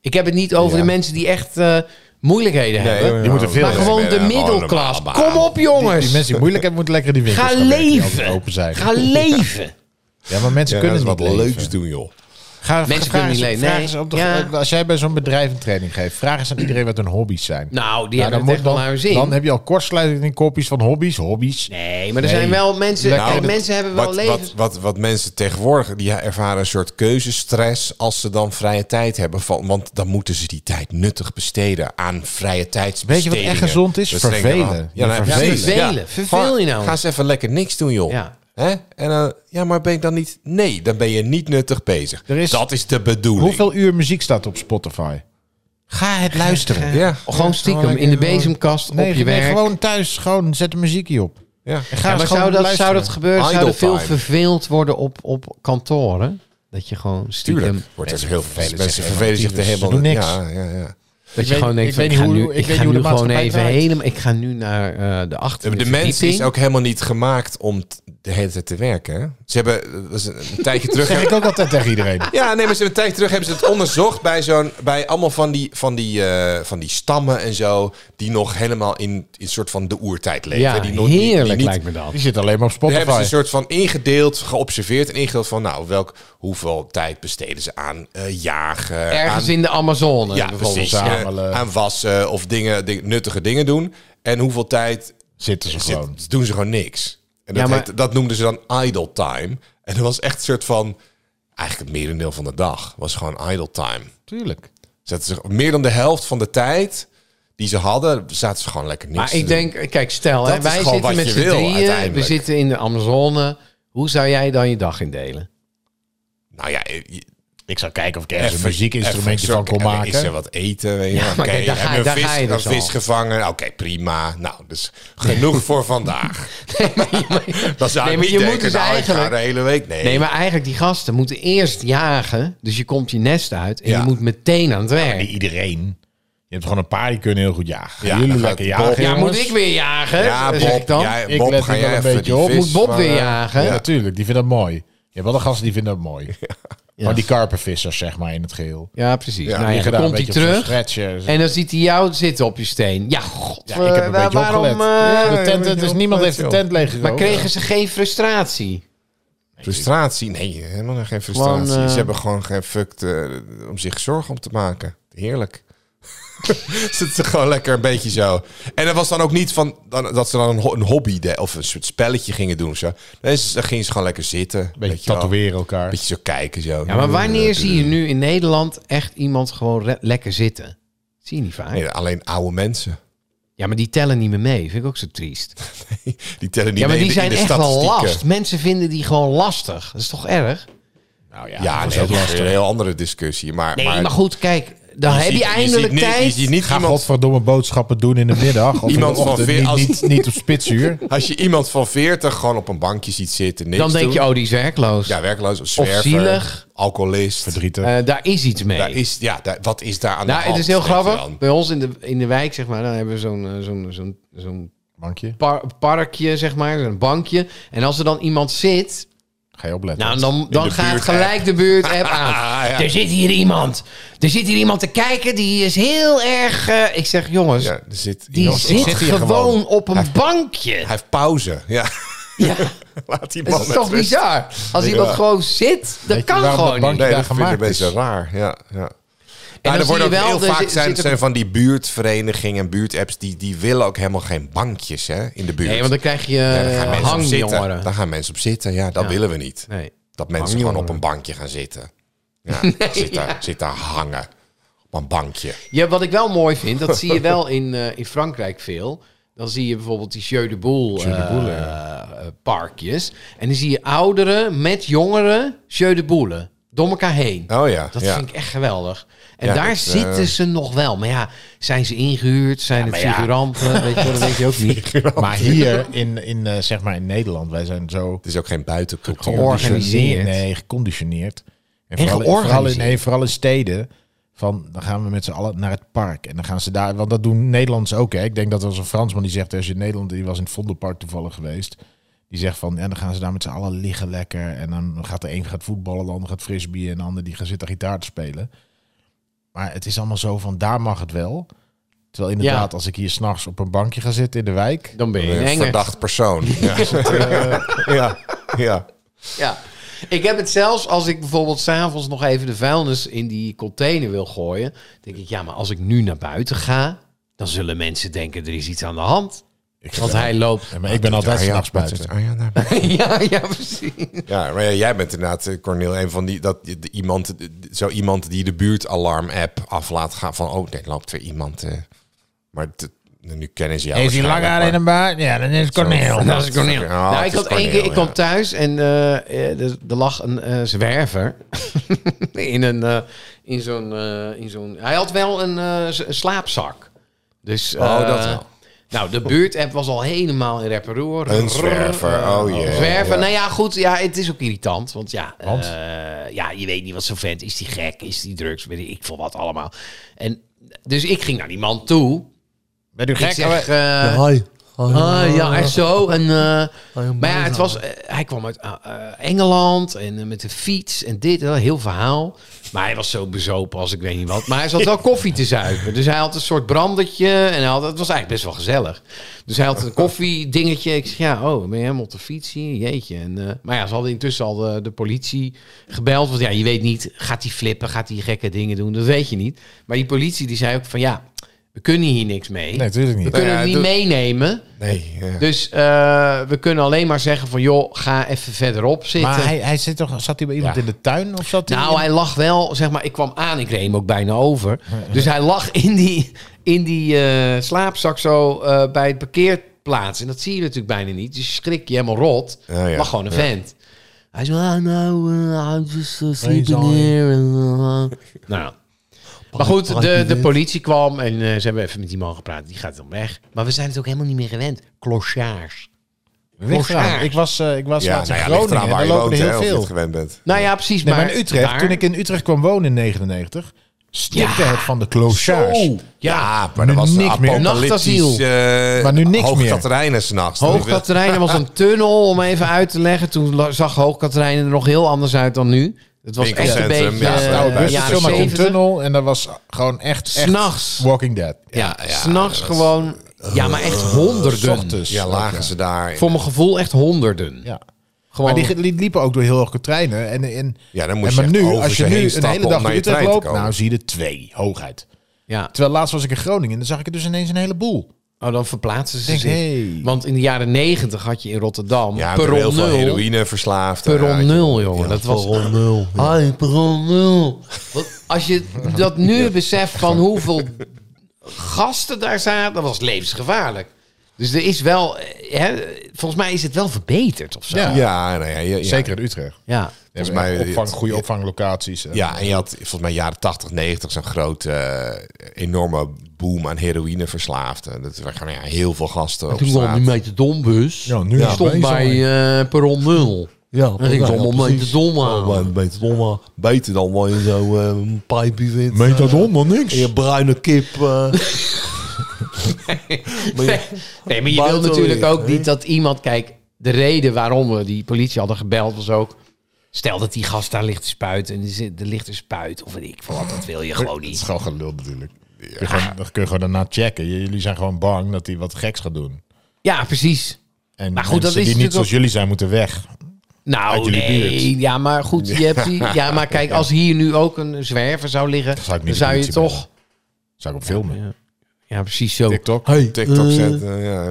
Ik heb het niet over de mensen die echt eh, moeilijkheden Nee, hebben. hoor. Die moeten veel maar werken. gewoon nee, de nee, gewoon middelklas. normaal Kom op, Die, jongens. die mensen die moeilijk hebben, moeten lekker die winkels Ga gaan werken, die leven. altijd open zijn. Ga leven. Ja, maar mensen Ja, kunnen dat niet is wat leven. leuks doen, joh. Ga, Mensen vraag kunnen eens- niet leven. vraag Nee. eens op de- Ja. Als jij bij zo'n bedrijf een training geeft, vraag eens aan iedereen wat hun hobby's zijn. Nou, die Nou, hebben het echt wel naar hun zin. dan heb je al kortsluiting in kopjes van hobby's, hobby's. Nee, maar er Nee. zijn wel mensen... Lekker. kijk, Nou, mensen hebben wel Wat, leven. wat, wat, wat mensen tegenwoordig, die ervaren een soort keuzestress als ze dan vrije tijd hebben. Van, want dan moeten ze die tijd nuttig besteden aan vrije tijdsbestedingen. Weet je wat echt gezond is? Dus ze denken, Vervelen. ah, Ja, Ja, nou, vervelen. precies. Vervelen. Ja. Verveel je nou. Ga eens even lekker niks doen, joh. Ja. Hè? En, eh, ja, maar ben ik dan niet... Nee, dan ben je niet nuttig bezig. Er is- dat is de bedoeling. Hoeveel uur muziek staat op Spotify? Ga het luisteren. Ja, Gewoon stiekem in de bezemkast Nee, op je nee, werk. gewoon thuis. Gewoon zet de muziekje op. ja. En ga Ja, eens maar gewoon zou dat, zou luisteren. dat gebeuren? Idle Zou er veel time. verveeld worden op, op kantoren? Dat je gewoon stiekem... Tuurlijk. Wordt er heel veel mensen vervelen zich er Ze helemaal... doen niks. Ja, ja, ja. Dat Ik je weet- gewoon denkt, ik van, weet ik, niet ga hoe- nu, ik weet ik, niet ga hoe nu de gewoon maatschappij even draait. helemaal... Ik ga nu naar eh, de achtste De mens is ook helemaal niet gemaakt om t- de hele tijd te werken. hè? Ze hebben eh, dat is een tijdje terug. Zeg ik ook altijd tegen iedereen. Ja, nee, maar ze hebben een tijdje terug hebben ze het onderzocht bij zo'n bij allemaal van die, van, die, eh, van die stammen en zo die nog helemaal in in een soort van de oertijd leven. Ja, die nog- die- die heerlijk niet- lijkt me dat. Die zit alleen maar op Daar hebben ze Spotify. een soort van ingedeeld, geobserveerd en ingedeeld van nou, welk, hoeveel tijd besteden ze aan eh, jagen, aan Ergens in de Amazone ja, bijvoorbeeld. precies, zamelen. eh, aan wassen of dingen, ding- nuttige dingen doen. En hoeveel tijd Zitten ze zit- gewoon. doen ze gewoon niks. En dat, Ja, maar- heet- dat noemden ze dan idle time. En dat was echt een soort van... Eigenlijk het merendeel van de dag was gewoon idle time. Tuurlijk. Zetten ze, meer dan de helft van de tijd die ze hadden, zaten ze gewoon lekker niks Maar te ik doen. denk, kijk, stel, Dat hè, is wij gewoon zitten wat met je z'n wil, drieën, we uiteindelijk. zitten in de Amazone. Hoe zou jij dan je dag indelen? Nou ja, je- je- Ik zou kijken of ik ergens Even- een muziekinstrumentje even van kon zo- maken. Is er wat eten? Weet je? Ja, wel. maar Oké, kijk, daar ga- hebben we daar vis, ga je een dus vis al. gevangen? Oké, prima. Nou, dus genoeg voor vandaag. Dan zou Nee, ik maar niet je moet denken, nou, ik dus ga eigenlijk- de hele week... Nee, Nee, maar eigenlijk die gasten moeten eerst jagen. Dus je komt je nest uit en Ja. je moet meteen aan het werk. Niet iedereen. Je hebt gewoon een paar die kunnen heel goed jagen. Ja, Ja, Jullie dan lekker gaat Bob- jagen. ja, moet jongens. ik weer jagen? ja, Dat Bob, Eh, zeg ik dan. jij- Ik Bob let ga er wel jij een even beetje die op. vis Moet Bob weer vangen? jagen? eh, Ja, Ja. natuurlijk. Die vinden dat mooi. Je hebt wel een gasten die vinden dat mooi. Maar die karpenvissers, zeg maar, in het geheel. Ja, precies. Ja, nou, Die ja, gedaan dan een komt hij beetje op zo'n terug stretcher. en dan ziet hij jou zitten op je steen. Ja, god. Ja, ik heb een eh, beetje waarom, opgelet. eh, de tent, een dus beetje niemand heeft de opgelet, tent leeggeroofd. maar kregen ze geen frustratie? Frustratie? Nee, helemaal geen frustratie. Gewoon, eh, Ze hebben gewoon geen fucked eh, om zich zorgen om te maken. Heerlijk. Zitten ze gewoon lekker een beetje zo. En dat was dan ook niet van dan, dat ze dan een, ho- een hobby de, of een soort spelletje gingen doen. of Zo. Nee, ze, dan gingen ze gewoon lekker zitten. Een weet beetje je wel. tatoeëren Een elkaar. beetje zo kijken zo. eh, Ja, maar wanneer zie je nu in Nederland echt iemand gewoon re- lekker zitten? Zie je niet vaak. Nee, alleen oude mensen. Ja, maar die tellen niet meer mee. Vind ik ook zo triest. Die tellen niet ja, maar mee die in zijn de, in de echt wel statistieken. last. Mensen vinden die gewoon lastig. Dat is toch erg? Nou Ja, nee, dat is een heel andere discussie. Maar, Nee, maar, goed, kijk. Dan heb je, ziet- je eindelijk ziet niet- tijd. Je ziet niet Ga iemand godverdomme boodschappen doen in de middag. Of Iemand iemand van van veer- niet, als- niet, niet op spitsuur. Als je iemand van 40 gewoon op een bankje ziet zitten, niks dan denk doen. je, oh, die is werkloos. Ja, werkloos, of zwerver, zielig. alcoholist. Verdrietig. Eh, daar is iets mee. Daar is, ja, daar- wat is daar aan de nou, hand? het is heel denk je grappig. dan? Bij ons in de, in de wijk, zeg maar, dan hebben we zo'n eh, zo'n zo'n zo'n Bankje. par- parkje, zeg maar, zo'n bankje. En als er dan iemand zit, Ga je opletten. nou, dan, dan de gaat buurt-app. gelijk de buurt-app aan. Dus Ah, ja. Er zit hier iemand. Er zit hier iemand te kijken, die is heel erg... eh, ik zeg, jongens, Ja, er zit, die jongens, zit, zit hier gewoon, gewoon. op een bankje. Hij heeft pauze. Ja, Ja, laat die man dat is met toch rust. bizar? Als iemand gewoon zit, dat Weet je kan waarom dat gewoon niet. bankje- Nee, daar dat vind ik een gemaakt beetje is. raar. Ja, ja. dan Maar er zie worden je ook wel, heel er vaak zit- zijn, zit ook- zijn van die buurtverenigingen en buurtapps... die, die willen ook helemaal geen bankjes hè, in de buurt. Nee, want dan krijg je Ja, daar gaan eh, mensen op zitten. hangjongeren. Daar gaan mensen op zitten. Ja, dat Ja. willen we niet. Nee. Dat mensen Hangjongeren. gewoon op een bankje gaan zitten. Ja, zitten, zitten hangen. Op een bankje. Ja, wat ik wel mooi vind, dat zie je wel in, eh, in Frankrijk veel. Dan zie je bijvoorbeeld die Jeu de Boel, eh, eh, parkjes. En dan zie je ouderen met jongeren Jeu de Boelen. Door elkaar heen. Oh ja. Dat ja. vind ik echt geweldig. En Ja, daar dat, eh, zitten ze nog wel. Maar ja, zijn ze ingehuurd? Zijn het maar ja. figuranten? Weet je, wel, dat weet je ook niet. Maar hier in, in, eh, zeg maar in Nederland, wij zijn zo Het is ook geen buitencultuur. Georganiseerd. geconditioneerd. Nee, geconditioneerd. En, vooral, in- georganiseerd. Vooral in, nee, vooral in steden. Van, dan gaan we met z'n allen naar het park. En dan gaan ze daar... Want dat doen Nederlanders ook, hè. Ik denk dat er was een Fransman die zegt... Als je in Nederland... Die was in het Vondelpark toevallig geweest. Die zegt van... Ja, dan gaan ze daar met z'n allen liggen lekker. En dan gaat de een gaat voetballen. De ander gaat frisbeeën. En de ander die gaat zitten gitaar te spelen. Maar het is allemaal zo van... Daar mag het wel. Terwijl inderdaad, als ik hier s'nachts op een bankje ga zitten in de wijk... Dan ben je een Een enger. verdacht persoon. Ja. ja. ja. Ja. Ik heb het zelfs als ik bijvoorbeeld s'avonds nog even de vuilnis in die container wil gooien. denk ik, ja, maar als ik nu naar buiten ga, dan zullen mensen denken er is iets aan de hand. Ik Want hij loopt. Ja, maar ik ben altijd s'nachts buiten. Oh ja, ja, precies. Ja, maar ja, jij bent inderdaad, eh, Cornel, een van die, dat, je- de- iemand, de- de- zo iemand die de buurtalarm-app af laat gaan. Van, oh nee, loopt weer iemand. eh. maar te- nu kennen ze jou Heeft hij lang waarschijnlijk, haar in maar- een baard? Ja, dan is het Corneel. Zo. Dat is Cornel. Oh, nou, het ik is had één Cornel, keer, ik kwam ja. thuis en eh, eh, er, er lag een eh, zwerver in een, eh, in zo'n, eh, in zo'n. Hij had wel een, eh, z- een slaapzak. Dus. Oh, dat eh, wel. Nou, de buurt-app was al helemaal in reparoer. Een zwerver, oh jee. Zwerver, Ja. nou ja, goed, ja, het is ook irritant. Want ja, Want? eh, ja, je weet niet wat zo'n vent is. Die gek, is die drugs, weet ik veel wat allemaal. En dus ik ging naar die man toe. Ben u Ik gek? zeg, eh, Hi. Ah, ja, echt zo. En, eh, maar ja, het was, eh, hij kwam uit eh, eh, Engeland en eh, met de fiets en dit en dat. Heel verhaal. Maar hij was zo bezopen als ik weet niet wat. Maar hij zat wel koffie te zuipen. Dus hij had een soort brandertje. En hij had, het was eigenlijk best wel gezellig. Dus hij had een koffiedingetje. Ik zeg, ja, oh, ben je helemaal op de fiets hier? Jeetje. En, eh, maar ja, ze hadden intussen al de, de politie gebeld. Want ja, je weet niet, gaat hij flippen? Gaat hij gekke dingen doen? Dat weet je niet. Maar die politie die zei ook van, ja, we kunnen hier niks mee. Nee, natuurlijk We niet. kunnen Ja, het niet doe- meenemen. Nee, ja. Dus eh, we kunnen alleen maar zeggen van... joh, ga even verderop zitten. Maar hij, hij zit toch, zat hij bij iemand Ja. in de tuin? Of zat hij nou, hij lag wel, zeg maar... Ik kwam aan, ik reed hem ook bijna over. Dus hij lag in die, in die eh, slaapzak zo eh, bij het parkeerplaats. En dat zie je natuurlijk bijna niet. Dus je schrik je helemaal rot. Ja, ja. maar gewoon een vent. Hij zei, ah, nou, eh, I'm just eh, sleeping Eenzaam. here. en, eh, nou, maar goed, de, de politie kwam en eh, ze hebben even met die man gepraat. Die gaat dan weg. Maar we zijn het ook helemaal niet meer gewend. Clochards. Ligt eraan. Ik was, eh, ik was Ja, laatst in nou ja, ligt Groningen. eraan en waar Daar je lopen woont, er hè, heel of je het veel. gewend bent. Nou ja, precies. Nee, maar, maar in Utrecht, daar- toen ik in Utrecht kwam wonen in 99, stikte Ja. het van de clochards. Zo. Ja, maar dat Nu was een niks meer. apocalyptisch... eh, Maar nu niks meer. Hoogkaterijnen s'nachts. Hoog Hoogkaterijnen was een tunnel, om even uit te leggen. Toen la- zag Hoog Hoogkaterijnen er nog heel anders uit dan nu. Het was echt een Winkelcentrum, beetje... ja, eh, nou, Nou, bus- dus jaren zo maar een 70. tunnel en dat was gewoon echt, echt S'nachts. Walking Dead. Ja, Ja, ja, s'nachts dat- gewoon... Ja, maar echt S honderden. ochtends. Ja, lagen ze daar. Voor mijn gevoel echt honderden. Ja. Gewoon, Maar die, ge- die liepen ook door heel hoge treinen. En, en, Ja, dan en moest je maar echt nu, over als ze je heen nu een stappen hele om dag door naar je Utrecht trein te loopt, komen. nou zie je er twee, hoogheid. ja. Terwijl laatst was ik in Groningen en dan zag ik er dus ineens een heleboel. Oh, dan verplaatsen ze Denk, zich. hey. Want in de jaren negentig had je in Rotterdam Ja, per per heel perron veel nul. heroïne verslaafd. Perron Ja, nul, jongen. dat was perron nul. Hi, perron nul. Wat- Als je dat nu beseft van hoeveel gasten daar zaten, dat was levensgevaarlijk. Dus er is wel, eh, hè, volgens mij is het wel verbeterd of zo. Ja. Ja, nou ja, ja, ja. Zeker in Utrecht. Eh, ja. Volgens mij- mij opvang, goede opvanglocaties. En- Ja, en je had volgens mij jaren 80, 90 zo'n grote, enorme boom aan heroïne verslaafden. Dat waren gewoon, ja, heel veel gasten op Toen kwam straat. die meter dombus. Ja, nu is stond het bij eh perron nul. Ja, Dan ging ze allemaal meter dom aan. Beter dan, maar beter dan waar je zo eh, een pijpje vindt. Metadon, dan eh, en niks. je bruine kip. eh. Maar je- Nee, maar je Buiten wil natuurlijk weer, ook hè? niet dat iemand... Kijk, de reden waarom we die politie hadden gebeld was ook... Stel dat die gast daar ligt te spuiten en die zit- er ligt een spuit of weet ik veel wat. Dat wil je gewoon Het is niet. gewoon gelul natuurlijk. Je kunt gewoon- Dan kun je gewoon daarna checken. J- Jullie zijn gewoon bang dat hij wat geks gaat doen. Ja, precies. En Maar Nou goed, mensen dat is die niet natuurlijk zoals ook- jullie zijn, moeten weg. Uit Nou, jullie nee. buurt. Ja, maar goed. Je hebt die, ja, maar kijk, als hier nu ook een zwerver zou liggen... zou ik niet dan de zou je politie toch... Zou ik op filmen. Ja, precies zo. TikTok. TikTok zetten, ja.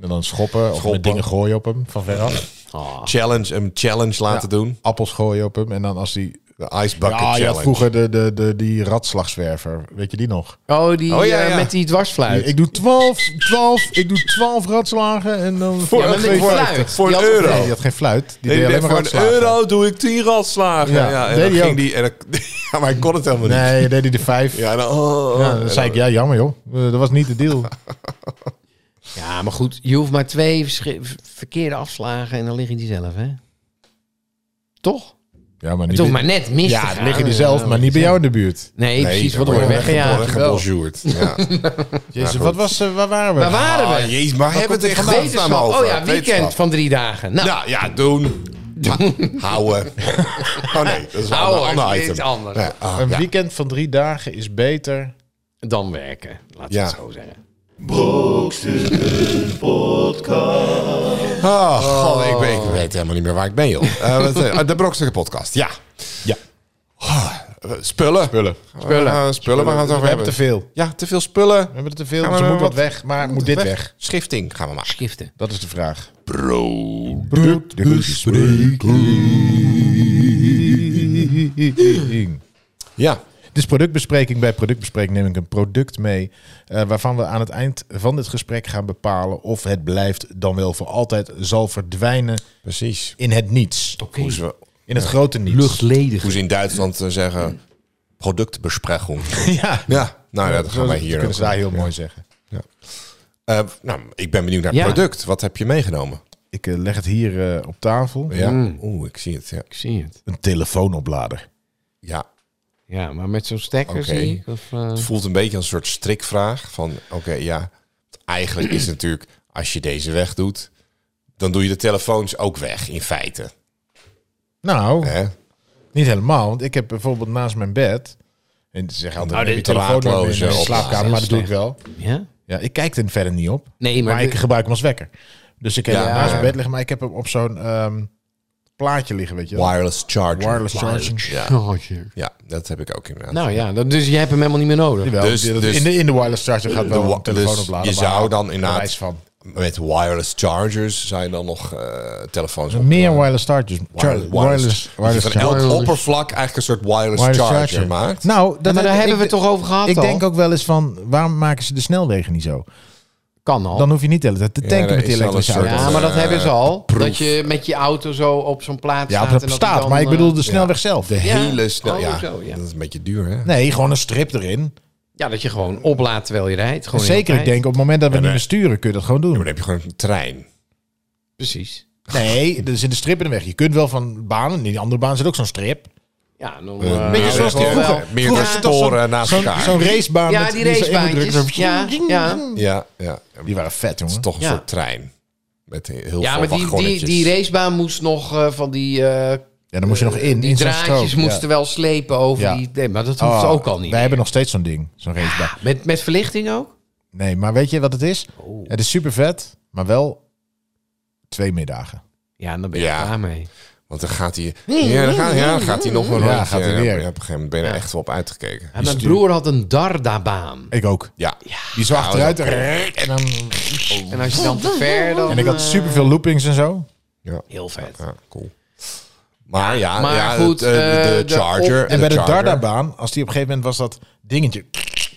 En dan schoppen, of Schoppen. met dingen gooien op hem van veraf. Oh. Challenge, een challenge laten doen. Appels gooien op hem. En dan als die... De Ice Bucket Ja, je Challenge. had vroeger de, de, de, die ratslagzwerver. Weet je die nog? Oh, die Oh, ja, eh, ja. met die dwarsfluit. Ik doe 12, 12, ik doe 12 ratslagen en dan... Ja, maar met die fluit. Voor Die een had- euro. Nee, die had geen fluit. Die Nee, deed die alleen deed maar voor een ratslagen. euro doe ik tien ratslagen. Ja, Ja, en deed dan hij ging ook. die... En dan, ja, maar ik kon het helemaal niet. Nee, deed hij de 5. Ja, Ja, dan, oh, dan zei ik, ja, jammer joh. Eh, Dat was niet de deal. Ja, maar goed. Je hoeft maar twee verschi- verkeerde afslagen en dan liggen die zelf, hè? Toch? Ja, maar Het niet hoeft bij- maar net mis te ja, dan gaan. eh. liggen die zelf, maar niet bij jou in de buurt. Nee, precies. Wat dan door word je weggejaagd. wegge- gebonjourd. Ja. Jezus, goed. wat was, eh, waar waren we? Waar waren we? Ah, jezus, maar hebben we het in Wetenschap. godsnaam over? Oh ja, weekend Wetenschap. van drie dagen. Nou, Nou ja, doen. Ha- Houden. Oh nee, dat is wel Houden, een ander is item. iets anders. nou, Ja, ah, Een ja. weekend van drie dagen is beter. dan werken. Laten Ja. we het zo zeggen. Ah, god, ik, weet, ik weet helemaal niet meer waar ik ben, joh. Eh, wat, eh, de Brokstukken podcast, ja. Ja. Ah, eh, spullen. Spullen. Spullen. spullen, waar gaan we het We hebben over hebben? te veel. We Ja, te veel spullen. hebben te veel, Gaan dus we er er moet wat wat- weg. Maar moet dit weg? Schifting gaan we maken. Giften. Dat is de vraag. Bro. Ja. Dus productbespreking. Bij productbespreking neem ik een product mee. eh, waarvan we aan het eind van dit gesprek gaan bepalen. of het blijft dan wel voor altijd zal verdwijnen Precies. in het niets. Hoe ze, In het grote niets. Luchtledig. hoe ze in Duitsland eh, zeggen, productbespreking. Ja, Ja, nou ja, dat gaan wij Dat hier kunnen ook ze daar doen. heel mooi zeggen. Eh, nou, ik ben benieuwd naar het Ja. product. Wat heb je meegenomen? Ik eh, leg het hier eh, op tafel. Ja. Oeh, ik zie het. Ja. Ik zie het. Een telefoonoplader. ja. Ja, maar met zo'n stekker Oké. zie ik. Of, eh, Het voelt een beetje als een soort strikvraag. Van oké, ja. Eigenlijk is het natuurlijk, als je deze weg doet, dan doe je de telefoons ook weg, in feite. Nou, Hè? niet helemaal. Want ik heb bijvoorbeeld naast mijn bed... En ze zeggen altijd, Oh, heb je dit telefoon nooit meer in draadloze de oplader. slaapkamer, maar dat doe ik wel. ja? Ja, ik kijk er verder niet op. Nee, maar, Maar ik gebruik hem als wekker. Dus ik heb Ja. hem naast mijn Ja. bed liggen, maar ik heb hem op zo'n ehm, plaatje liggen, weet je wel. Wireless charger. Wireless charging. Ja. Oh, jee. ja, dat heb ik ook inderdaad. Nou ja, dat- dus jij hebt hem helemaal niet meer nodig. Jawel, Dus- die- dat- dus- in, de, in de wireless charger gaat wel de wa- een telefoon dus opladen. je maar zou dan inderdaad- bewijs van. Met wireless chargers zijn dan nog eh, telefoons. op- Meer wireless chargers. Char- wireless. wireless, wireless Dat je van elk charger. oppervlak eigenlijk een soort wireless, Wireless charger, charger. maakt. Nou, dat maar daar ik- hebben we ik- het toch over gehad Ik al? denk ook wel eens van, waarom maken ze de snelwegen niet zo? kan al. Dan hoef je niet de hele tijd te tanken er met die is al een elektrische soort- auto. ja, dat, maar dat eh, hebben ze al. proef. Dat je met je auto zo op zo'n plaats Ja, staat. dat en bestaat, die dan, maar ik eh, bedoel dus- de snelweg zelf. De Ja. hele snel. Oh, ja, zo, ja. dat is een beetje duur, hè? Nee, gewoon een strip erin. Ja, dat je gewoon oplaat terwijl je rijdt. Gewoon in Zeker, ik de tijd. denk op het moment dat we Ja, niet nee. meer sturen, kun je dat gewoon Ja, maar doen. dan heb je gewoon een trein. Precies. Nee, er zit een strip in de weg. Je kunt wel van banen, in die andere baan zit ook zo'n strip. Ja, dan, Een eh, Beetje ja, zoals die wel- vroeger. Meerdere Vroeger was het toch sporen zo'n- naast zo'n- elkaar. Zo'n racebaan. Ja, met- die zo één racebaantjes. druk, zo- Ja, ja. Ja, ja. Het Die waren vet, is jongen. toch een Ja. soort trein. Met heel Ja, veel maar die, die, wagonnetjes. die racebaan moest nog eh, van die, eh, Ja, dan moest je nog in. die in zo'n draadjes strook. moesten wel slepen over Ja. die... Nee, maar dat Ja. hoeft Oh, ook al Wij niet. meer. Ah, hebben nog steeds zo'n ding, zo'n racebaan. Met, met verlichting ook? Nee, maar weet je wat het is? Het is super vet, maar wel twee middagen. Ja, dan ben je Ja. klaar mee. Want dan gaat hij... Ja, dan gaat, ja, dan gaat hij nog een Ja, rondje. gaat hij weer. Ja, op een gegeven moment ben je er echt wel op uitgekeken. Dus- En mijn broer had een dardabaan. Ik ook. Ja. Die zo Nou, achteruit dat- en dan... En als je dan te ver... Dan, En ik had eh, super veel loopings en zo. ja. Heel vet. Ja, cool. Maar ja, maar ja, goed, het, eh, de, eh, de de Charger. op- En bij de Charger. Dardabaan, als die op een gegeven moment was dat dingetje.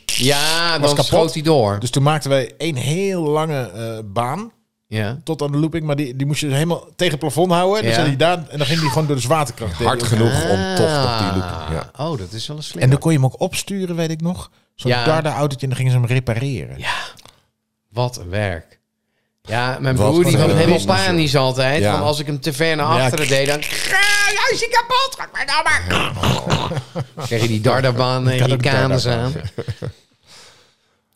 Ja, dan kapot. schoot hij door. Dus toen maakten wij één heel lange eh, baan Ja. tot aan de looping. Maar die, die moest je dus helemaal tegen het plafond houden. Dus Ja. zat hij daar, en dan ging die gewoon door de zwaartekracht. tegen. Hard genoeg om toch nog die Ah, loop. Ja. Oh, dat is wel een slim. En dan kon je hem ook opsturen, weet ik nog. Zo'n Ja. Darda-autootje en dan gingen ze hem repareren. Wat een werk. Ja, mijn Wat broer die een was helemaal business, panisch altijd. Ja. Want als ik hem te ver naar Ja, achteren deed, dan... Ja, is hij kapot. Ga maar nou maar. Kreeg je die dardabaan en kan die ook een kaners dardabaan, aan.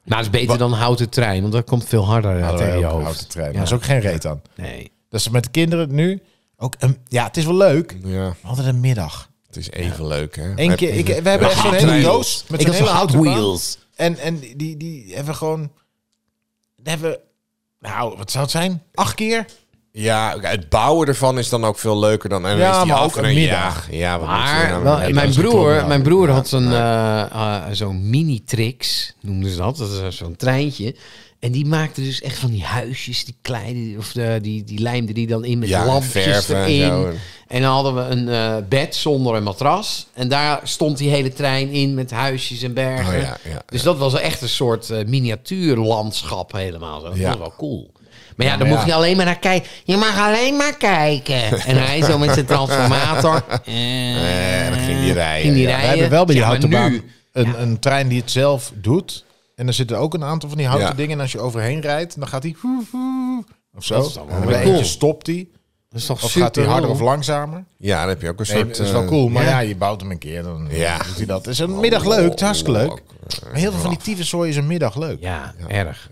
Maar het is beter dan houten trein, want dat komt veel harder Ja, eh, tegen je ook een hoofd. houten trein. Ja. Daar is ook geen reet aan. Nee. Dat ze met de kinderen nu ook... Een, ja, het is wel leuk. ja, maar Altijd een middag. het is even leuk, hè? Eén keer, ik, we hebben echt zo'n hele doos met zo'n hele Hot Wheels. En, en die, die, die hebben gewoon... die hebben we- nou, wat zou het zijn? Acht keer? Ja, het bouwen ervan is dan ook veel leuker dan... Ja, En dan is die maar af ook en een dan- middag. Ja, ja, wat moet je Maar nou wel- mee? mijn, Dat is een broer, klopjaar. mijn broer Ja. had zo'n eh, eh, zo'n mini-trix, noemden ze dat. Dat is zo'n treintje. En die maakte dus echt van die huisjes, die kleine, of de, die, die lijmde die dan in met Ja, en lampjes verven en erin. zo. En dan hadden we een eh, bed zonder een matras. En daar stond die hele trein in met huisjes en bergen. Oh ja, ja, dus dat was echt een soort eh, miniatuurlandschap helemaal. Zo. Dat Ja. was wel cool. Maar ja, dan mocht je alleen maar naar kijken. Je mag alleen maar kijken. En hij zo met zijn transformator. Eh, En dan ging die in rijden. die ja. We rijen. hebben wel bij die Ja, maar houten baan nu- een, een trein die het zelf doet. En er zitten ook een aantal van die houten Ja. dingen. En als je overheen rijdt, dan gaat hij... Of zo. is dan wel en bij weer eentje cool. stopt hij. Dat is toch Of gaat hij harder of langzamer? Ja, dan heb je ook een Nee, soort... dat is wel eh, cool. Maar ja, je bouwt hem een keer. Dan Ja. doet hij dat. Het is een middag leuk. Het is hartstikke leuk. Maar heel veel van die Ja. tyfuszooi is een middag leuk. Ja, erg.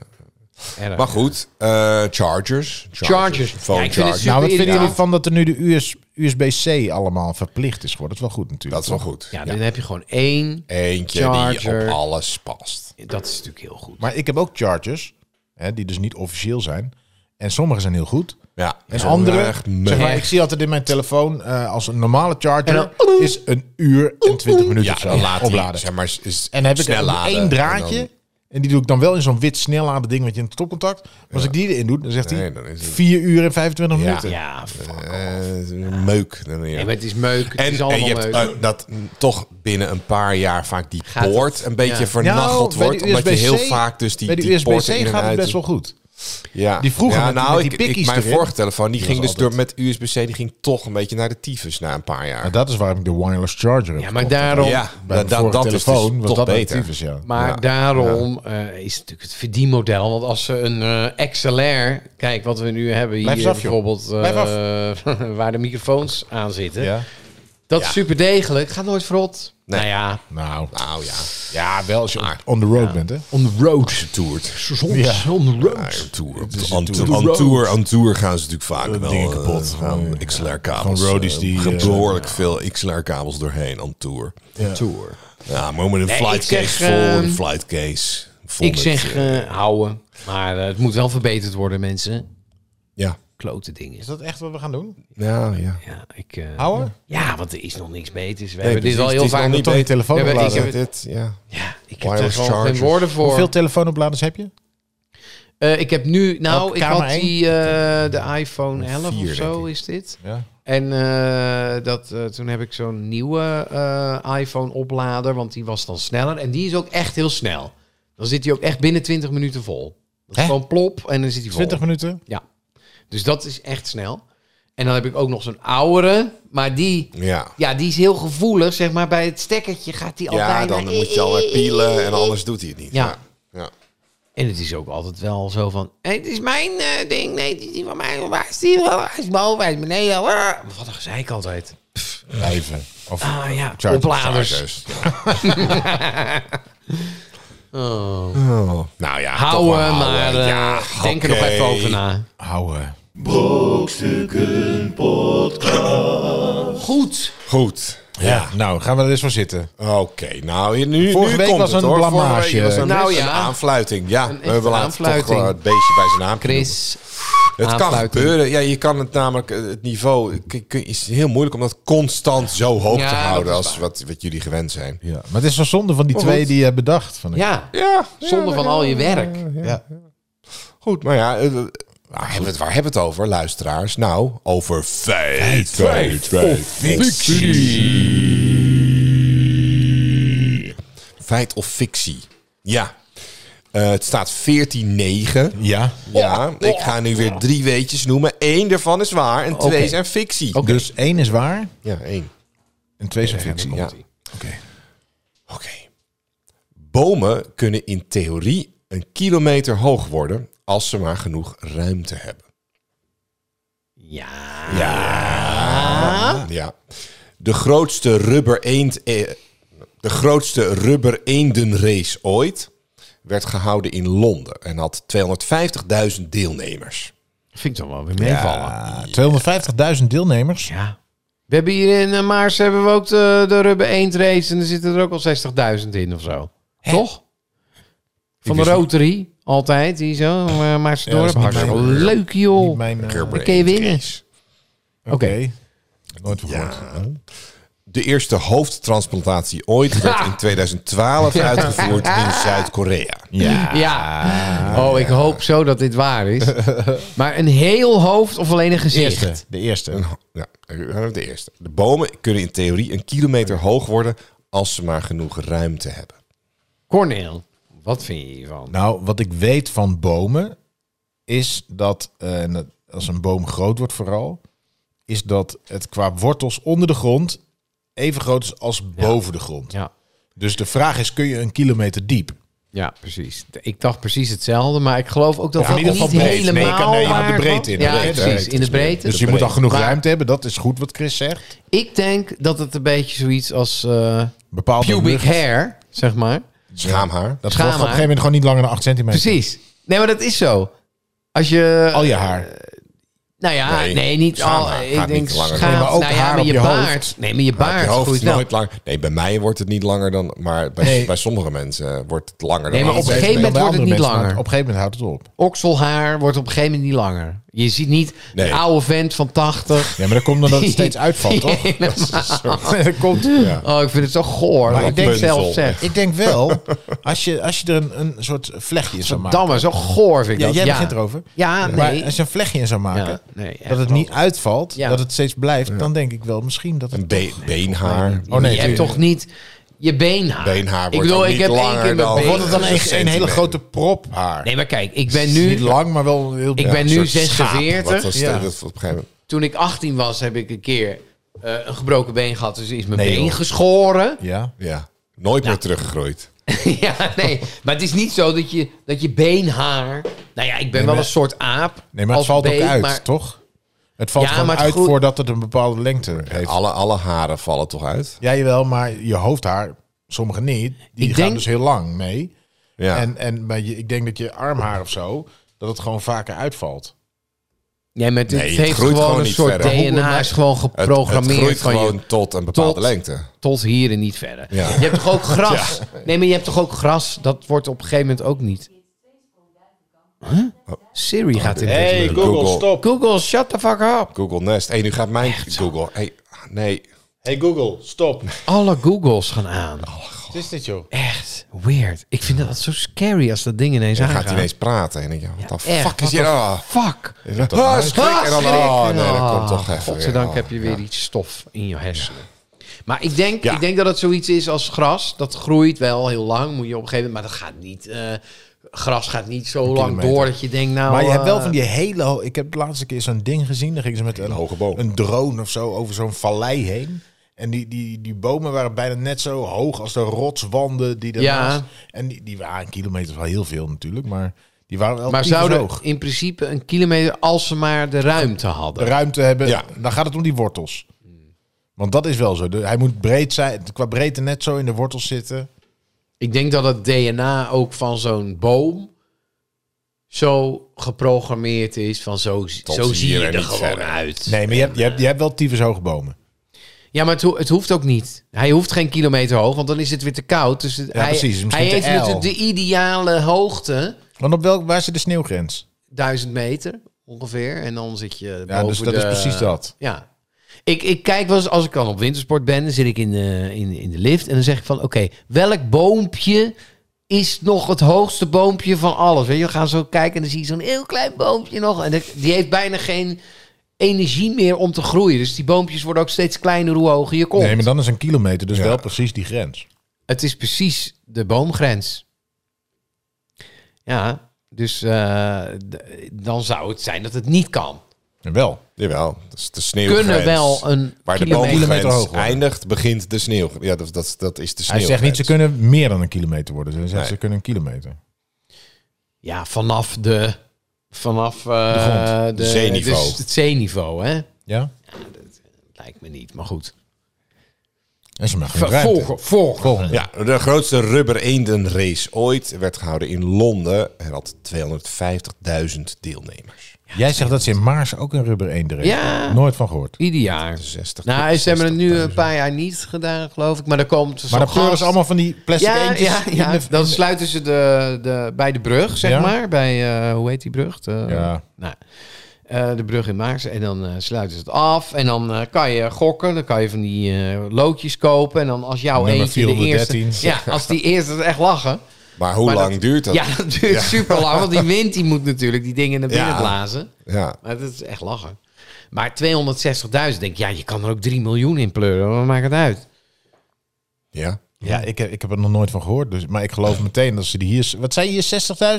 erg. Maar goed, eh, Chargers. Chargers. Phone Ja, ik vind het chargers. super Nou, wat vinden irritant. jullie van dat er nu de US, USB-C allemaal verplicht is geworden? Dat is wel goed natuurlijk. Dat is wel goed. Ja, dan heb je gewoon één. Eentje die Charger. op alles past. Dat is natuurlijk heel goed. Maar ik heb ook chargers, hè, die dus niet officieel zijn. En sommige zijn heel goed. Ja. En eh, andere, Echt zeg maar, meh. ik zie altijd in mijn telefoon, eh, als een normale charger En dan- is een uur en twintig minuten Ja, of zo dan laat hij, opladen. zeg maar, is- is En dan heb ik snel laden. één draadje. En En, dan- die doe ik dan wel in zo'n wit snelladen ding wat je in het stopcontact. Maar als ik die erin doe, dan zegt Nee, hij dan is het- 4 uur en 25 Ja. minuten. Ja, fuck. eh, meuk. Dan, ja. Nee, maar het is meuk. Het en, is en allemaal je meuk. hebt eh, dat mm, toch binnen een paar jaar vaak die Gaat het- poort een beetje ja. vernacheld Nou, bij wordt. de Omdat je USB-C heel vaak dus die, Bij de die poorten in USB-C en gaat het uit- best wel goed. Ja. Die vroeger ja, met die- nou, met die ik- ik, pikkies Mijn erin. vorige telefoon die Die ging was dus door, altijd- met USB-C, die ging toch een beetje naar de tyfus na een paar jaar. En dat is waarom ik de wireless charger heb. Ja, maar gekocht. daarom, ja, Bij dat, de dat, vorige dat is dus telefoon was toch dat beter. actief is, ja. maar Ja. daarom eh, is het natuurlijk het verdienmodel. Want als ze een eh, XLR, kijk wat we nu hebben hier Blijf eens af, joh. bijvoorbeeld, eh, Blijf waar de microfoons aan zitten. Ja. Dat Ja. is super degelijk. Gaat nooit verrot. Nee. Nou ja, Nou, Nou ja, ja, wel als je on- on the road bent, hè? on the road. toert. Soms Ja. on the road. Aan tour. is een Aan tour. tour- aan tour- aan tour gaan ze natuurlijk vaak wel dingen eh, kapot. Gaan XLR-kabels. Gewoon roadies eh, die, gaan eh, behoorlijk veel XLR-kabels doorheen aan tour. Tour. Ja, maar met een Nee, flight ik zeg, case vol, een ehm, flight case vol. Ik met, zeg eh, eh, houden. Maar eh, het moet wel verbeterd worden, mensen. ja. Klote dingen. Is dat echt wat we gaan doen? Ja, ja. Ja, ik, eh, Houden? ja, want er is nog niks beters. We Nee, hebben dit precies, al het heel is nog vaak... niet getoond. je telefoon Ja, maar opladen. ik heb, dit, ja. ja, ik heb er Wireless gewoon geen chargers. woorden voor. Hoeveel telefoonopladers heb je? Eh, ik heb nu... Nou, Welke ik kamer had één? die, eh, de iPhone Een 11 vier, of zo denk ik. is dit. Ja. En eh, dat, eh, toen heb ik zo'n nieuwe eh, iPhone-oplader. Want die was dan sneller. En die is ook echt heel snel. Dan zit hij ook echt binnen 20 minuten vol. Dat is Hè? gewoon plop en dan zit hij vol. 20 minuten. Dus dat is echt snel. En dan heb ik ook nog zo'n oudere, maar die, Ja. ja, die is heel gevoelig, zeg maar. Bij het stekkertje gaat die al Ja, bijna... Eh, dan moet je al weer pielen en anders doet hij het niet. Ja. ja. En het is ook altijd wel zo van... "Hé, Het is mijn eh, ding, nee, het is niet van mij. Waar is die? Waar is boven? Waar is beneden? Ah, Wat een gezeik altijd. Blijven. Of Ah ja, Chargers. opladers. Chargers. Oh. Nou ja, toch wel Houden, maar houden. eh, Ja, denk er nog oké. even over na. houden. Goed. Goed. Ja. Nou, gaan we er eens voor zitten. Oké, nou hier- nu, Vorige nu week komt was het, een hoor. blamage. Vorige week was een, Nou een ja. aanfluiting. Ja, we echte hebben laten toch aanfluiting. wel het beestje bij zijn naam noemen. Chris. Het kan aanfluiting. gebeuren. Ja, je kan het namelijk, eh, het niveau k- k- is heel moeilijk om dat constant zo hoog Ja, te dat houden is als waar. wat, wat jullie gewend zijn. Ja. Maar het is wel zonde van die twee die je hebt bedacht. Van Ja, Ja, zonder van al je werk. ja. Goed, maar ja, eh, eh, waar hebben, we het, waar hebben we het over, luisteraars? Nou, over feit, feit, feit, fictie. Feit of fictie. Ja. Eh, het staat 14-9. Ja. Ja, ik ga nu weer drie weetjes noemen. Eén daarvan is waar en twee Oké. zijn fictie. Dus één is waar Ja, één. en twee zijn fictie. Ja. Oké. Oké. Bomen kunnen in theorie een kilometer hoog worden als ze maar genoeg ruimte hebben. Ja. Ja. De grootste rubber eend, eh, de grootste rubber eendenrace ooit werd gehouden in Londen en had 250.000 deelnemers. Vind ik dan wel weer meevallen. Ah, Ja. 250.000 deelnemers. We hebben hier in eh, Maars hebben we ook de, de Rubber Eend Race. En er zitten er ook al 60.000 in of zo. Toch? Van de wist Rotary. Altijd. Die zo. eh, Maarse Ja, dat is dorp. niet Hartstikke mijn- leuk, Niet joh. mijn... eh, Rubber Dan kun je eend winnen. race. Oké. Nooit van gehoord. De eerste hoofdtransplantatie ooit werd in 2012 uitgevoerd in Zuid-Korea. Ja. Ja. Oh, ik hoop zo dat dit waar is. Maar een heel hoofd of alleen een gezicht? Eerste. De eerste. Een ho- Ja, eh, de eerste. De bomen kunnen in theorie een kilometer hoog worden als ze maar genoeg ruimte hebben. Corneel, wat vind je hiervan? Nou, wat ik weet van bomen is dat eh, en dat- als een boom groot wordt vooral, is dat het qua wortels onder de grond even groot is als boven de grond. Ja. Dus de vraag is, kun je een kilometer diep? Ja, precies. Ik dacht precies hetzelfde, maar ik geloof ook dat Ja, dat in ieder niet geval breed. Nee, je helemaal kan- nee, je gaat waar de breedte was. in, de Ja, breedte. precies. In de breedte. Dus je moet dan genoeg Maar- ruimte hebben, dat is goed wat Chris zegt. Ik denk dat het een beetje zoiets als eh, Bepaalde pubic lucht- hair, zeg maar. Schaamhaar. Dat Schaamhaar. wordt op een gegeven moment gewoon niet langer dan 8 centimeter. Precies. Nee, maar dat is zo. Als je... Al je haar. Nou ja, Nee, nee, niet al. schaamhaar gaat Ik denk niet langer. schaam. Nee, maar ook nou ja, haar maar op je, je hoofd. baard. Nee, maar je Maar baard je hoofd is groeit wel. nooit lang. Nee, bij mij wordt het niet langer dan. Maar bij, Nee. bij sommige mensen eh, wordt het langer dan. Nee, maar op een andere gegeven Dan bij mensen. wordt andere het niet mensen, maar langer. Op een gegeven moment houdt het op. nou, Okselhaar wordt op een gegeven moment niet langer. Je ziet niet Nee. een oude vent van 80. Ja, maar dat komt omdat het steeds uitvalt, toch? Dat komt... Oh, ik vind het zo goor. Maar ik denk Rapunzel. zelf zeg. Ik denk wel, als je, als je er een, een soort vlechtje in zou maken. Damme, zo goor vind ik Ja, dat. jij ja. begint erover. Ja, nee. Maar als je een vlechtje in zou maken, Ja, nee, echt dat het niet uitvalt, Ja. dat het steeds blijft, dan denk ik wel misschien dat het... Een be- beenhaar. Oh nee, je hebt tuurlijk. toch niet je beenhaar. Beenhaar wordt ik bedoel, ook ik niet heb één langer dan- keer mijn Of been. wordt het dan Een echt een hele centimeter. grote prop haar? Nee, maar kijk, ik ben Niet nu, lang, maar wel heel... ik ben nu 46. Ja. Ja. Dat op een gegeven moment. Toen ik 18 was, heb ik een keer eh, een gebroken been gehad. Dus is mijn Nee, been joh. geschoren. Ja. Ja. Nooit meer teruggegroeid. ja, nee. Maar het is niet zo dat je, dat je beenhaar... Nou ja, ik ben wel maar- een soort aap. Nee, maar het als valt been, ook uit, maar- toch? Het valt Ja, gewoon maar het uit groeit- voordat het een bepaalde lengte heeft. Alle, alle haren vallen toch uit? Ja, jawel, maar je hoofdhaar, sommige niet, die Ik gaan denk- dus heel lang mee. Ja. En, en maar je, ik denk dat je armhaar of zo, dat het gewoon vaker uitvalt. Nee, maar het, Nee, het het heeft groeit gewoon, gewoon een niet soort verder. DNA is gewoon het, het geprogrammeerd groeit van gewoon je tot een bepaalde tot- lengte. tot hier en niet verder. Ja. Je hebt toch ook gras? Nee, maar je hebt toch ook gras? Dat wordt op een gegeven moment ook niet. Oh. Huh? Siri gaat in deze Google, Google. stop. Google, shut the fuck up. Google Nest. hey, nu gaat mijn Google. Hey, nee. Hey Google, stop. Alle Googles gaan aan. Oh. Wat is dit, joh? Echt weird. Ik vind dat zo scary als dat ding ineens Dan aangaat. gaat hij ineens praten. En dan denk je, wat de echt, fuck is what hier? the Ah, Fuck. ah, schrik. En dan, oh, schrik. nee, dat Ah, komt toch even. Godzijdank weer. Oh, heb je weer iets stof in je hersenen. Maar ik denk, Ja. ik denk dat het zoiets is als gras. Dat groeit wel heel lang, moet je op een gegeven moment. Maar dat gaat niet eh, gras gaat niet zo lang kilometer. door dat je denkt, nou... maar je hebt wel eh, van die hele... ho- Ik heb de laatste keer zo'n ding gezien. Daar gingen ze met een, hoge boom. een drone of zo over zo'n vallei heen. En die, die, die bomen waren bijna net zo hoog als de rotswanden die daarnaast... Ja. En die, die waren een kilometer is wel heel veel natuurlijk, maar die waren wel Maar tyfus zouden hoog. in principe een kilometer, als ze maar de ruimte de hadden. ruimte hebben, Ja. dan gaat het om die wortels. Want dat is wel zo. De- hij moet breed zijn, qua breedte net zo in de wortels zitten. Ik denk dat het DNA ook van zo'n boom zo geprogrammeerd is van zo, zo hier zie je en er niet gewoon verder. uit. Nee, maar je hebt, je hebt, je hebt wel tyfus hoge bomen. Ja, maar het, ho- het hoeft ook niet. Hij hoeft geen kilometer hoog, want dan is het weer te koud. Dus het- Ja, hij, precies. Misschien hij te heeft ijl. natuurlijk de ideale hoogte, Want op welk, waar zit de sneeuwgrens? 1000 meter ongeveer. En dan zit je Ja, boven dus dat de- is precies dat. Ja. Ik, ik kijk wel eens, als ik dan op wintersport ben, dan zit ik in de, in, in de lift en dan zeg ik van, oké, welk boompje is nog het hoogste boompje van alles? Weet je, we gaan zo kijken en dan zie je zo'n heel klein boompje nog. En dat- die heeft bijna geen energie meer om te groeien. Dus die boompjes worden ook steeds kleiner hoe hoger je komt. Nee, maar dan is een kilometer dus Ja. wel precies die grens. Het is precies de boomgrens. Ja, dus eh, d- dan zou het zijn dat het niet kan. En wel. Jawel, dat is de sneeuwgrens. Kunnen wel een Waar de kilometer- Kilometer hoog boomgrens worden. eindigt, begint de sneeuw. Ja, dat, dat, dat is de sneeuw. Hij zegt niet, ze kunnen meer dan een kilometer worden. Ze zegt, Nee. ze kunnen een kilometer. Ja, vanaf de... Vanaf eh, grond. de- Zeeniveau. dus het zeeniveau, hè? Ja? Lijkt me niet, maar goed. En ze mag geen ruimte. Volgen, volgen. Volgende. Ja, de grootste rubber eendenrace ooit werd gehouden in Londen. Er had 250.000 deelnemers. Jij zegt dat ze in Maars ook een rubber eend erin. Ja. Nooit van gehoord. Ieder jaar. 60 Nou, ze hebben het nu een paar jaar niet gedaan, geloof ik. Maar er komt zo'n Maar dan pleuren gast. ze allemaal van die plastic ja, eentjes. ja, in ja. de- dan sluiten ze de, de, bij de brug, zeg Ja. maar. Bij, eh, hoe heet die brug? De, Ja. nou, eh, de brug in Maars. En dan eh, sluiten ze het af. En dan eh, kan je gokken. Dan kan je van die eh, loodjes kopen. En dan als jouw Nummer eentje de 413. eerste... Ja, als die eerste het echt lachen. Maar hoe Maar lang duurt dat? ja, dat duurt super lang. Want die wind die moet natuurlijk die dingen naar binnen Ja. blazen. Ja. Maar dat is echt lachen. Maar 260.000, denk ik, ja, je kan er ook 3 miljoen in pleuren. Wat maakt het uit? ja. Ja, ik, heb- ik heb er nog nooit van gehoord. Dus, maar ik geloof meteen dat ze die hier... Wat zijn hier,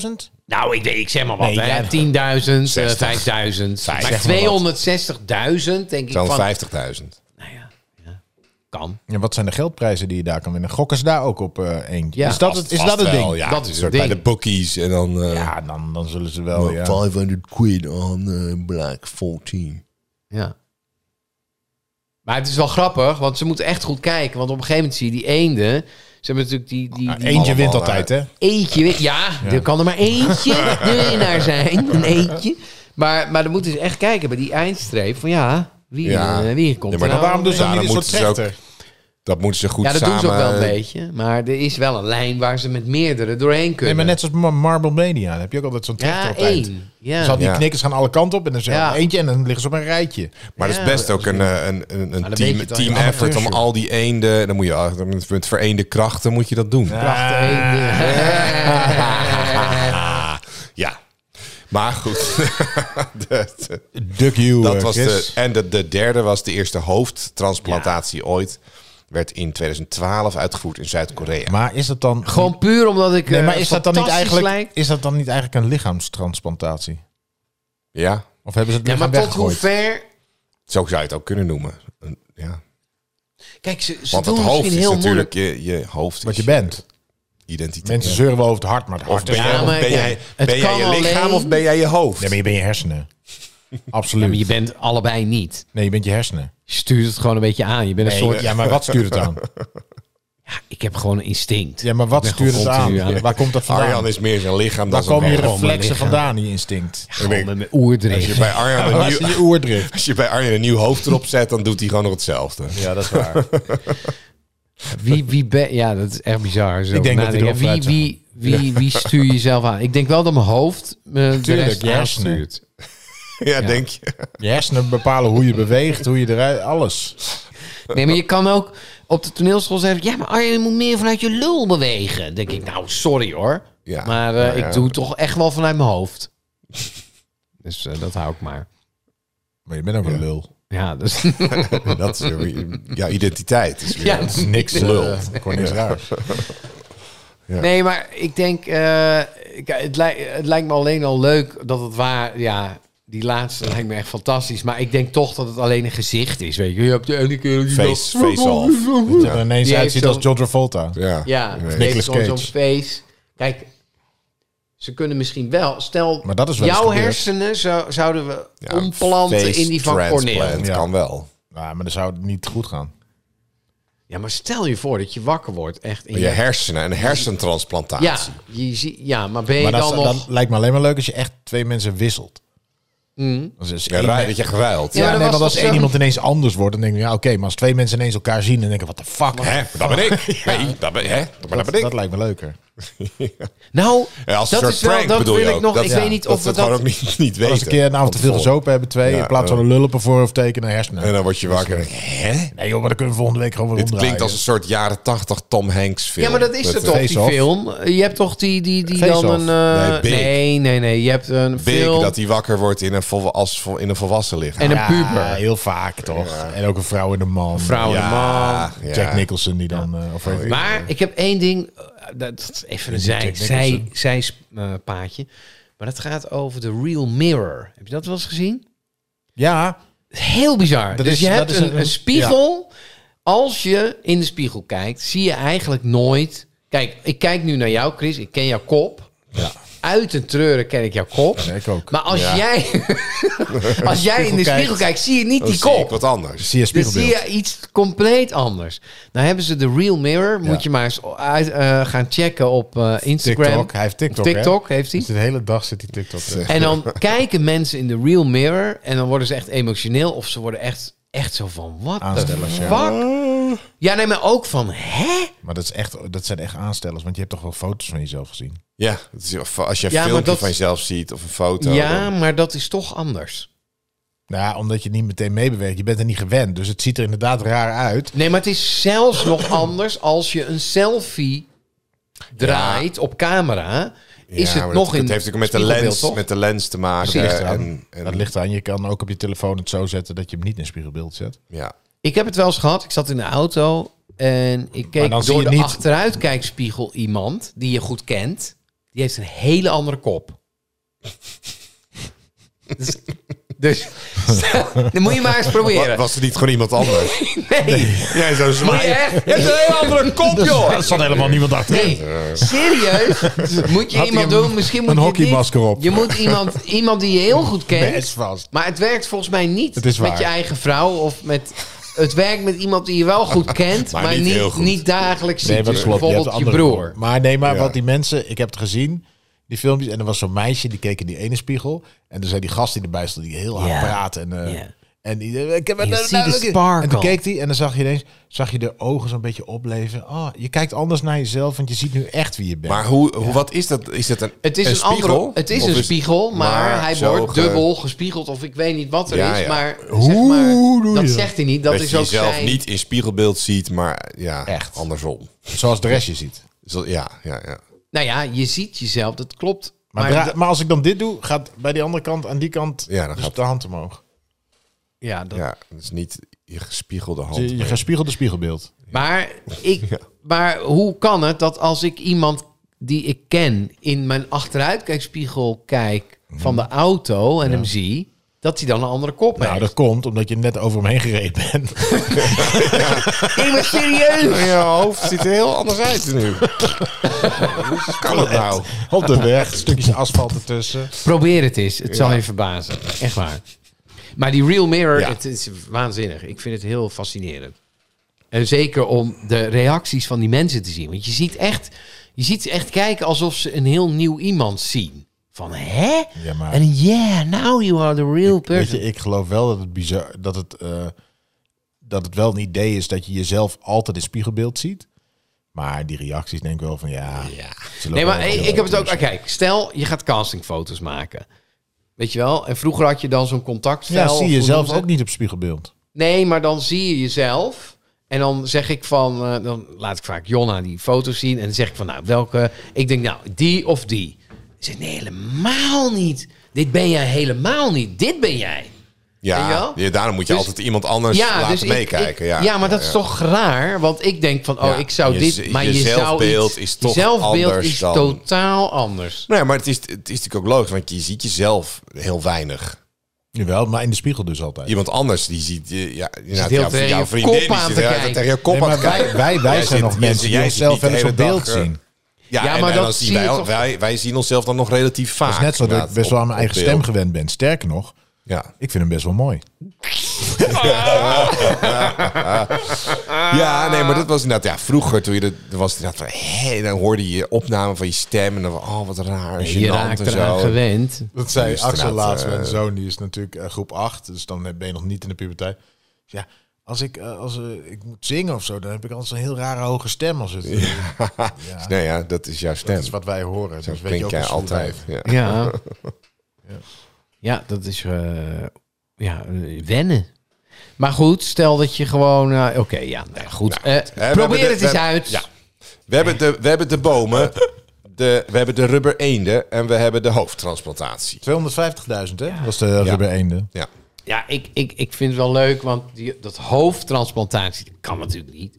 60.000? Nou, ik, weet, ik zeg maar wat, Nee, hè. ja. 10.000, eh, 60. 5.000. Zeg maar Maar 260.000, denk ik Zo'n van... 50.000. Nou ja, ja, kan. Ja, wat zijn de geldprijzen die je daar kan winnen? Gokken ze daar ook op eh eentje? Ja. is dat het, is Vast dat het wel, ding? Ja, Dat is een het soort ding. bij de bookies en dan... eh, Ja, dan, dan zullen ze wel... Oh, Ja. 500 quid on eh, Black 14. Ja. Maar het is wel grappig, want ze moeten echt goed kijken. Want op een gegeven moment zie je die eenden... Ze hebben natuurlijk die... die, Ja, die eentje wint Allemaal, altijd, hè? Eentje, weet- ja, er kan er maar eentje de winnaar zijn. Een eentje. Maar, maar dan moeten ze echt kijken bij die eindstreep van ja, wie, Ja. eh, wie komt Ja, er maar dan nou? Waarom doen ze dan Ja, niet een dan soort moeten ze ook trechter? Dat moeten ze goed Ja, dat samen... doen ze ook wel een beetje. Maar er is wel een lijn waar ze met meerdere doorheen Nee, kunnen. maar net zoals Mar- Marble Mania. Dan heb je ook altijd zo'n trechter ja, op het eind. één. Ja. Dus al die Ja. knikkers gaan alle kanten op en dan zijn Ja. er eentje en dan liggen ze op een rijtje. Maar dat Ja, is best ook een, eh, een, een, een Nou, dan weet je team, het al, team ja. effort om al die eenden... Dan moet je ah, met, met vereende krachten moet je dat doen. Ja. Prachtig. Maar goed. dat, Duck you, dat eh, was de, Chris. en de, de derde was de eerste hoofdtransplantatie ooit. Werd in 2012 uitgevoerd in Zuid-Korea. Maar is dat dan... Gewoon puur omdat ik. Nee, eh, maar is dat, dan niet fantastisch eigenlijk, lijk. is dat dan niet eigenlijk een lichaamstransplantatie? Ja, Of hebben ze het Ja, lichaam maar tot weggegooid? hoe ver. zo zou je het ook kunnen noemen. Een- Ja. Kijk, ze, ze Want doen het hoofd is misschien heel natuurlijk moeilijk. je, je hoofd. Wat is je bent. Identiteit. Mensen Ja. zeuren wel over het hart, maar het Of hart ben, is... Ja, jij, of maar ben, ja, jij, het ben jij kan je lichaam alleen- of ben jij je hoofd? Nee, maar je bent je hersenen. Absoluut. Ja, maar je bent allebei niet. Nee, je bent je hersenen. Stuur het gewoon een beetje aan. Je bent een Nee, soort. Ah, ja, maar wat stuurt het aan? Ik heb gewoon een instinct. Ja, maar wat Ik ben gewoon stuurt het aan? continu aan. Waar komt dat vandaan? Arjan is meer zijn lichaam Waar dan zijn komen je hoofd. gewoon mijn reflexen lichaam. vandaan, die instinct? Gewoon met mijn Als oerdrift. je bij Arjan Waar een is nieuw, je oerdrift? als je bij Arjan een nieuw hoofd erop zet, dan doet hij gewoon nog hetzelfde. Ja, dat is waar. Wie, wie ben, ja, dat is echt bizar. Zo Ik denk nadenken. dat hij erop vooruit wie, zou wie, wie, wie stuur jezelf aan? Ik denk wel dat mijn hoofd me de Tuurlijk, rest je hersenen. aanstuurt. Ja, denk je. Je hersenen bepalen hoe je beweegt, hoe je eruit... Alles. Nee, maar je kan ook op de toneelschool zeggen... Ja, maar Arjen, je moet meer vanuit je lul bewegen. Dan denk ik, nou, sorry hoor. Ja, maar eh, nou ja. ik doe het toch echt wel vanuit mijn hoofd. dus eh, dat hou ik maar. Maar je bent ook een lul. Ja, dus... Dat is weer- jouw identiteit. Is weer, ja, Niks Lul. lul. Gewoon niks raars. Ja. Nee, maar ik denk, eh, ik- het, lijkt, het lijkt me alleen al leuk dat het waar, ja, die laatste lijkt me echt fantastisch. Maar ik denk toch dat het alleen een gezicht is, weet je. Je hebt de ene keer... die Face, wel- face off. Dat er ineens Die uitziet heeft als John Travolta. Ja. Ja, Nee. nee. Nicolas Nicolas Cage. Cage. face. Kijk, ze kunnen misschien wel... Stel, Maar dat is wel eens jouw gebeurd. hersenen zou- zouden we Ja, omplanten face in die van Corneel. transplant Ja. kan wel. Nou, maar dan zou het niet goed gaan. Ja, maar stel je voor dat je wakker wordt echt in Maar Oh, je hersenen, een hersentransplantatie. Ja, je zie- ja, maar ben je maar dat, dan is- nog... dat lijkt me alleen maar leuk als je echt twee mensen wisselt. Mm. Als is Ja, één- raar dat je geruild. Ja, Ja, dat nee, was want als toch één zo? iemand ineens anders wordt, dan denk ik, ja, oké, maar als twee mensen ineens elkaar zien, dan denk ik, wat de fuck, Hè, hè? maar dat ben ik. Nee, dat ben, hè, dat, maar dat Dat, ben ik. dat lijkt me leuker. Nou, Ja, als een dat soort is wel, prank dat bedoel wil je ik ook. nog. Dat- ik ja, weet niet dat of we het gewoon dat... ook niet, niet Als weten. een keer een avond te veel Van tevoren. gezopen hebben, twee, Ja, in plaats van eh. een lullen voor of tekenen, hersenen. En dan word je wakker en denk je, hè? Nee joh, maar dan kunnen we volgende week gewoon weer Dit omdraaien. klinkt als een soort jaren tachtig Tom Hanks film. Ja, maar dat is Met, het eh, toch, Face die Off. film? Je hebt toch die, die, die Face dan Off. een... eh, Nee, Big. nee, nee, nee. Je hebt een Big, film dat hij wakker wordt in een, vol, als, vol- in een volwassen lichaam. en een ja, puber. heel vaak toch. En ook een vrouw en een man. Vrouw en een Ja, Ja, ja. Oh, Jack Nicholson die dan... eh, of weet ik. Maar ik heb één ding, eh, dat, dat is even een zij, Jack zij, Nicholson. zij eh, paadje. Maar dat gaat over de Real Mirror. Heb je dat wel eens gezien? Ja, Heel bizar. Dat dus is- je dat hebt is een, een- een spiegel. Als je in de spiegel kijkt, zie je eigenlijk nooit... Kijk, ik kijk nu naar jou, Chris. Ik ken jouw kop. Uit een treuren ken ik jouw kop. ja, ik ook. Maar als jij, als jij in de kijkt, spiegel kijkt, zie je niet Dan die zie ik kop. wat anders. Zie je Dan zie spiegelbeeld. je iets compleet anders. Nou hebben ze de Real Mirror. Moet je maar eens uit, eh, gaan checken op eh, Instagram. TikTok, hij heeft TikTok, hè? TikTok heeft hij. Dus de hele dag zit die TikTok. eh. En dan kijken mensen in de Real Mirror. En dan worden ze echt emotioneel. Of ze worden echt, echt zo van, wat the Aanstellers, fuck? ja. Ja. nee, maar ook van, hè? Maar dat, is echt, dat zijn echt aanstellers, want je hebt toch wel foto's van jezelf gezien. Ja, het is- of als je een Ja, maar filmpje dat- van jezelf ziet of een foto. Ja, dan- maar dat is toch anders. Nou, ja, omdat je niet meteen meebeweegt. Je bent er niet gewend, dus het ziet er inderdaad raar uit. Nee, maar het is zelfs nog anders als je een selfie draait op camera. Is Ja, het maar nog dat, in Het heeft ook met de, spiegelbeeld, lens, toch? met de lens te maken. Dat ligt aan. en, en- dat ligt aan. Je kan ook op je telefoon het zo zetten dat je hem niet in spiegelbeeld zet. Ja. Ik heb het wel eens gehad. Ik zat in de auto en ik keek dan zie door je de niet- achteruitkijkspiegel iemand die je goed kent. Die heeft een hele andere kop. dus, dus dan moet je maar eens Wa- proberen. Was er niet gewoon iemand anders? nee, Jij zo moet je zwaaien. echt. Je hebt een hele andere kop, joh. Er zat helemaal niemand achterin. Nee, serieus? Moet je Eh. Had iemand hij een- doen? Misschien moet Een je hockeymasker dit- op. Je moet iemand, iemand die je heel goed kent. Best vast. Maar het werkt volgens mij niet Het is met waar. je eigen vrouw of met. Het werkt met iemand die je wel goed kent, maar, Maar niet niet, heel niet, goed. dagelijks ziet. Nee, wat dus klopt. Je hebt bijvoorbeeld je, andere broer. vormen. Maar nee, maar Ja. wat die mensen, ik heb het gezien, die filmpjes. En er was zo'n meisje die keek in die ene spiegel. En er zei die gast die erbij stond, die heel hard Ja. praatte. En, eh, Ja. en die, eh, ik heb You nou, see the nou, ik- sparkle. En toen keek die en dan zag je ineens, zag je de ogen zo'n beetje opleven. Oh, je kijkt anders naar jezelf, want je ziet nu echt wie je bent. Maar hoe, hoe, wat is dat? Is dat een, Het is een, spiegel? andere, het is Of een spiegel, maar, maar hij zo wordt ge- dubbel gespiegeld of ik weet niet wat er Ja, is. ja. Maar, zeg Hoe maar doe dat je zegt hij niet. Dat, Dat is je ook jezelf zijn. niet in spiegelbeeld ziet, maar ja, Echt. andersom. Zoals de rest je ziet. Dus dat- ja, ja, ja. Nou ja, je ziet jezelf. Dat klopt. Maar, Maar, dra- dat- maar als ik dan dit doe, gaat bij die andere kant aan die kant Ja, dan dus gaat- de hand omhoog. ja, dat, Ja, dat is niet je gespiegelde hand. Je, je gespiegelde spiegelbeeld. Maar, ik, maar hoe kan het dat als ik iemand die ik ken in mijn achteruitkijkspiegel kijk van de auto en hem zie, dat hij dan een andere kop Nou, heeft? dat komt omdat je net over hem heen gereden bent. Nee, maar serieus! je hoofd ziet er heel anders uit nu. Hoe kan het nou? Op de weg, stukjes asfalt ertussen. Probeer het eens, het zal je verbazen. Echt waar. Maar die Real Mirror, Ja. het is waanzinnig. Ik vind het heel fascinerend. En zeker om de reacties van die mensen te zien. Want je ziet, echt, je ziet ze echt kijken alsof ze een heel nieuw iemand zien. Van, hè? Ja, maar- En yeah, now you are the real Weet person. je, ik geloof wel dat het bizar dat het, eh, dat het wel een idee is dat je jezelf altijd in spiegelbeeld ziet. Maar die reacties denk ik wel van ja. zullen Nee, wel maar heel ik, ik erg heb het ook. ah, tussen. Kijk, stel je gaat castingfoto's maken. Weet je wel? En vroeger had je dan zo'n contactvel. Ja, of zie hoe je noemen zelf ze ook het? niet op spiegelbeeld. Nee, maar dan zie je jezelf. En dan zeg ik van, eh, dan laat ik vaak Jonna die foto's zien. En dan zeg ik van, nou, welke? Ik denk, nou, die of die. Ze zegt, nee, helemaal niet. Dit ben jij helemaal niet. Dit ben jij. Weet je Ja, wel? ja, daarom moet je Dus- altijd iemand anders laten ik- meekijken. ik- ja, ja, maar dat is toch raar? Want ik denk van, oh, Ja, ik zou je z- dit... Maar je je, zelfbeeld zou is iets, je toch zelfbeeld anders is dan- totaal anders. Nou ja, maar het is, het is natuurlijk ook logisch, want je ziet jezelf heel weinig. Jawel, maar in de spiegel dus altijd. Iemand anders die ziet eh, ja, inderdaad, heel jouw, tegen jouw je vriendin kop die aan zit de te hele tijd kijken. tegen je kop Nee, aan maar te kijken. wij wij, wij Jij zijn zit- nog jij- mensen jij die zit onszelf niet wel eens de op hele beeld dag, eh, zien. Ja, Ja, en- maar en dat dan zien zie je wij, toch- wij, wij zien onszelf dan nog relatief vaak. Dat is net zo dat ik inderdaad, best wel aan op- mijn eigen op stem beeld. gewend ben. Sterker nog, Ja. ik vind hem best wel mooi. ja, nee, maar dat was inderdaad... Ja, vroeger toen je dat, dat was het inderdaad van... Hé, dan hoorde je je opname van je stem en dan van... Oh, wat raar, gênant Je raakt en eraan zo. gewend. Dat Ja, zei dus Axel inderdaad, laatst, eh, mijn zoon, die is natuurlijk eh, groep 8, dus dan ben je nog niet in de puberteit. Dus Ja, als ik, eh, als, eh, ik moet zingen of zo, dan heb ik altijd een heel rare hoge stem. Als het, eh, Ja. Nee, ja, dat is jouw Dat stem. is wat wij horen. Zo Dus weet je klink ook jij als hoe wij- altijd. Ja. Ja. ja, dat is eh, ja, eh, wennen. Maar goed, stel dat je gewoon... eh, Oké, ja, nou, goed. Eh, hebben probeer de- het we eens hebben- uit. ja. We hebben de, we hebben de bomen, de, we hebben de rubber eenden en we hebben de hoofdtransplantatie. 250.000, hè? Dat was de rubber eenden. Ja. Ja, ik, ik, ik vind het wel leuk, want die, dat hoofdtransplantatie dat kan natuurlijk niet.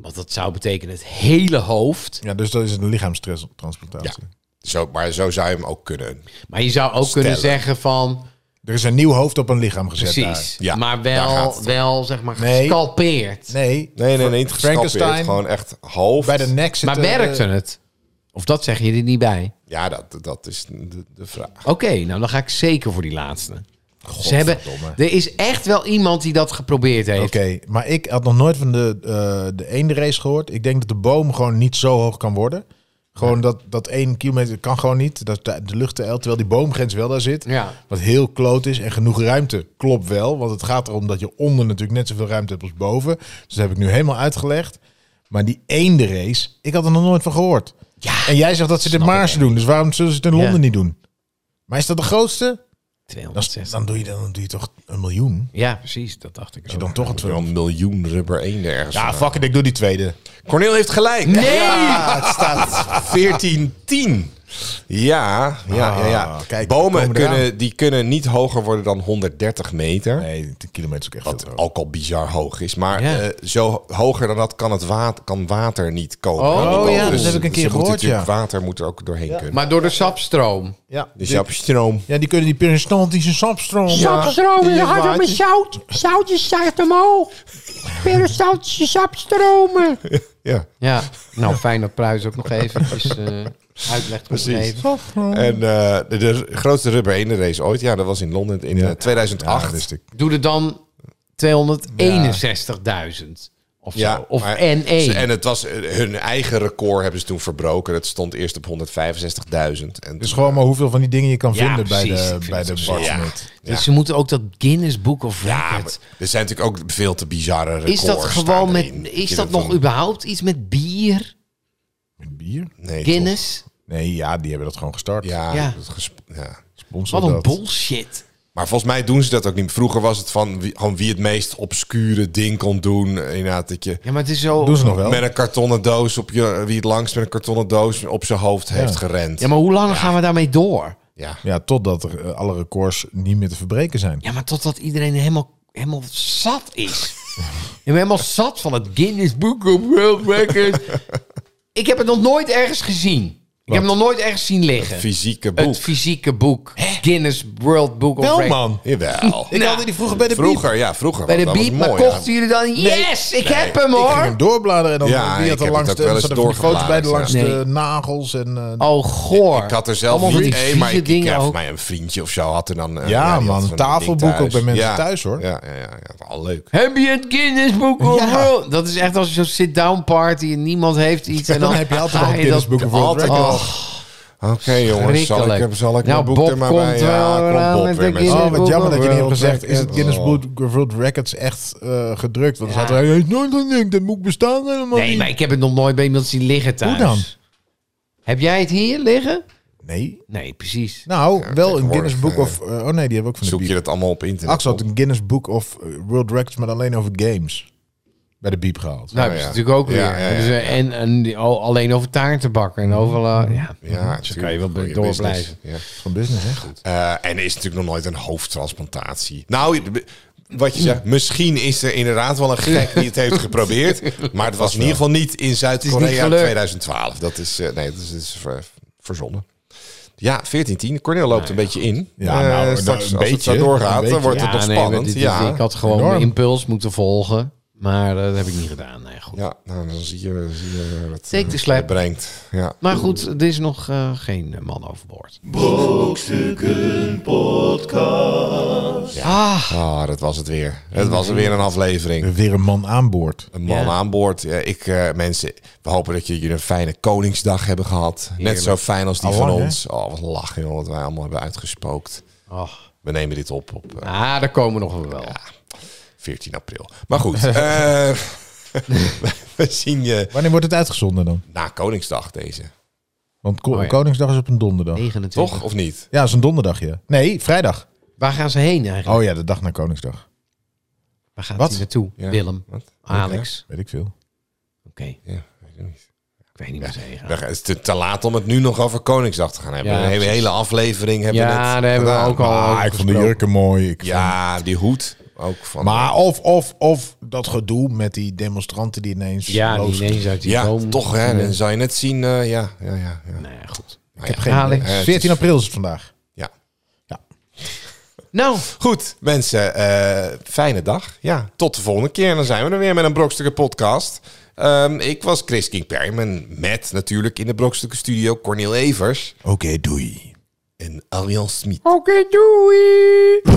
Want dat zou betekenen het hele hoofd. Ja, dus dat is een lichaamstransplantatie. Zo, maar zo zou je hem ook kunnen. Maar je zou ook kunnen Stellen. zeggen van... Er is een nieuw hoofd op een lichaam gezet Precies, Ja, maar daar gaat wel, het wel zeg maar Nee. gescalpeerd. daar. Nee, Nee, nee, nee. Niet Frankenstein. Frankenstein. Gewoon echt hoofd. bij de nek zit Maar eh, werkte het? Of dat zeggen jullie niet bij? Ja, dat, dat is de, de vraag. Oké, nou dan ga ik zeker voor die laatste. Ze hebben, er is echt wel iemand die dat geprobeerd heeft. Oké, maar ik had nog nooit van de, eh de eendenrace gehoord. Ik denk dat de boom gewoon niet zo hoog kan worden. Gewoon dat, dat één kilometer kan gewoon niet. Dat de, de lucht te ijlt, terwijl die boomgrens wel daar zit. Ja. Wat heel kloot is en genoeg ruimte klopt wel. Want het gaat erom dat je onder natuurlijk net zoveel ruimte hebt als boven. Dus dat heb ik nu helemaal uitgelegd. Maar die eendenrace, ik had er nog nooit van gehoord. Ja. En jij zegt dat ze dit in Snap ik Maarsen echt. doen. Dus waarom zullen ze het in Ja. Londen niet doen? Maar is dat de grootste? Dan, 260. dan, doe, je, dan doe je toch een miljoen? Ja, precies, dat dacht ik Als je ook. dan toch Wel een een miljoen rubber eenden ergens. Ja, Ah, fuck it, ik doe die tweede. Cornel heeft gelijk. Nee! Ja, het staat 14-10. Ja, ja, ja. ja. Ah, kijk, we Bomen komen eraan. kunnen, die kunnen niet hoger worden dan 130 meter. Nee, 10 kilometer is ook echt veel te Wat hoog. ook al bizar hoog is. Maar Ja. eh, zo hoger dan dat kan, het water, kan water niet komen. Oh, Aan die boom. ja, dat heb ik een keer ze moeten gehoord, ja. natuurlijk- Water moet er ook doorheen kunnen. Maar door de sapstroom. Ja, dus die- jouw stroom. ja, die kunnen die peristaltische sapstroom. Sapstroom is Die harder met waardjes. zout. Zoutjes stijgt omhoog. Peristaltische sapstromen. Ja. Ja, nou fijn dat Pruis ook nog eventjes eh uitleg kon Precies. geven. En eh, de, de grootste rubber eenden race ooit. Ja, dat was in Londen in eh, 2008. Ja, wist ik. Doe er dan 261.000 of Ja, zo. Of E. maar- N1. ze- En het was eh, hun eigen record hebben ze toen verbroken. Het stond eerst op 165.000. En Dus gewoon maar hoeveel van die dingen je kan Ja, vinden bij precies. de, Ik vind bij het de ook zo. Bartsmith. Dus ze moeten ook dat Guinness Book of ja, maar Records. er zijn natuurlijk ook veel te bizarre records. is dat gewoon staan met... erin. Is Je dat denkt nog van, überhaupt iets met bier? Met bier? nee, Guinness? Nee, ja, die hebben dat gewoon gestart. toch? Ja, Ja. dat gesp- ja. Sponsor Wat een dat. bullshit. Maar volgens mij doen ze dat ook niet. Vroeger was het van wie, gewoon wie het meest obscure ding kon doen. Eh, Inderdaad, dat je Ja, maar het is zo... Doen ze nog wel? met een kartonnen doos op je... Wie het langst met een kartonnen doos op zijn hoofd heeft gerend. Ja, maar hoe lang gaan we daarmee door? Ja. Ja, totdat er eh, alle records niet meer te verbreken zijn. Ja, maar totdat iedereen helemaal, helemaal zat is. ik ben helemaal zat van het Guinness Book of World Records. ik heb het nog nooit ergens gezien. Ik heb het nog nooit ergens zien liggen. Fysieke boek. Het fysieke boek. Guinness World Book of Records. Nou, Jawel. Ik haalde die vroeger bij de biep. Vroeger, ja, vroeger. was- Bij de dat was beat, maar mooi, ja. kochten jullie dan... Yes, ik heb hem Ik ging hem hoor! doorbladeren en dan Ja, wie ik had heb er het langs ook de, wel eens er zaten van die foto's bij de doorgebladerd, langste ja. nagels en eh, Oh, goor. Ik had er zelf Allemaal van niet die één, maar vieze ik, ik dingen heb ook. mij een vriendje of zo had er dan... eh, Ja, die had man, zo'n een ding tafelboek ook thuis. bij mensen thuis, hoor. Ja, ja, ja, ja, al leuk. Heb je het Guinness Book of Ja. World? Dat is echt als je zo'n sit-down party en niemand heeft iets. En dan, dan, heb je altijd wel ga een je Guinness dat- Book of World altijd Records. wel. Oké jongens, zal ik, Schrikkelijk. zal ik Nou, mijn boek Bob er maar komt bij... wel ja, eraan Bob met weer de zijn- Oh, Guinness wat jammer dat je niet hebt World gezegd. Is het Records. Guinness Book of World Records echt eh, gedrukt? Want dan staat er "Hey, nooit gedrukt. Dat boek bestaat helemaal Nee, niet. maar ik heb het nog nooit bij iemand zien liggen thuis. dan? Heb jij het hier liggen? Nee. Nee, precies. Nou, wel een tegenwoordig, Guinness Book eh, of... eh, oh nee, die hebben we ook van de Zoek je bier. dat allemaal op internet Axel had op? een Guinness Book of eh, World Records, maar alleen over games. bij de biep gehaald. Nou, Oh, dat is ja. natuurlijk ook Ja, weer. ja, ja, Dus, ja. eh, En, en die- al- alleen over taarten bakken en overal. eh, ja. Ja, Zo kan je wel tuurlijk. door Goeie blijven. business, ja. Van business, hè? Goed. Eh, en er is natuurlijk nog nooit een hoofdtransplantatie. Nou, je- wat je zegt, misschien is er inderdaad wel een gek die het heeft geprobeerd. Maar het was in ieder geval niet in niet Zuid-Korea gelukt. 2012. Dat is, eh, nee, dat is, dat is ver- verzonnen. Ja, 14-10. Cornel loopt een beetje in. Ja, Eh, nou, straks, nou, als een het zo beetje, doorgaat, een beetje. dan wordt het Ja, nog nee, spannend. dit is- ja. Ik had gewoon enorm. mijn impuls moeten volgen. Maar eh, dat heb ik niet gedaan. Nee, goed. ja, nou, dan zie je, zie je wat Take the eh, slap. brengt. Ja. Maar goed, er is nog eh, geen eh, man overboord. Ah, dat was het weer. Het was er weer een aflevering. Weer een man aan boord. Een man Ja. aan boord. Ja, ik, eh, mensen, we hopen dat jullie een fijne Koningsdag hebben gehad. Net zo fijn als die Al van lang, hè? ons. Oh, wat lachen, joh, wat wij allemaal hebben uitgespookt. Ach, We nemen dit op op eh, ah, daar komen we nog wel. 14 april. Maar goed, eh, we zien je Wanneer wordt het uitgezonden dan? na Koningsdag deze. Want Ko- Oh, ja. Koningsdag is op een donderdag. 29. Toch of niet? Ja, is een donderdag, ja. Nee, vrijdag. Waar gaan ze heen eigenlijk? Oh ja, de dag na Koningsdag. Waar gaat Wat? hij naartoe? Ja. Willem, Wat? Alex. Weet ik veel. Oké, Ja, weet ik niet. ik weet niet waar ze heen gaan. We gaan- Het is te, te laat om het nu nog over Koningsdag te gaan hebben. Ja, een hele, precies. hele aflevering hebben we Ja, net daar hebben we gedaan. ook al. Ah, over ik vond de gesproken. jurken mooi. Ik Ja, die hoed ook van... vond- Maar of, of, of dat gedoe met die demonstranten die ineens... Ja, boos- niet eens uit die ja, boom. toch hè. Dan zou je net zien, eh, ja, ja, ja. ja. Nou ja, goed. Nou Ik heb ja. geen Alex. idee. Eh, het is- 14 april is het vandaag. Ja. Nou, Goed, mensen, eh, fijne dag. Ja, tot de volgende keer. En dan zijn we er weer met een Brokstukken podcast. Ehm, ik was Chris King Perman met natuurlijk in de Brokstukken studio Cornel Evers Oké, doei. en Arjan Smit. Oké, doei.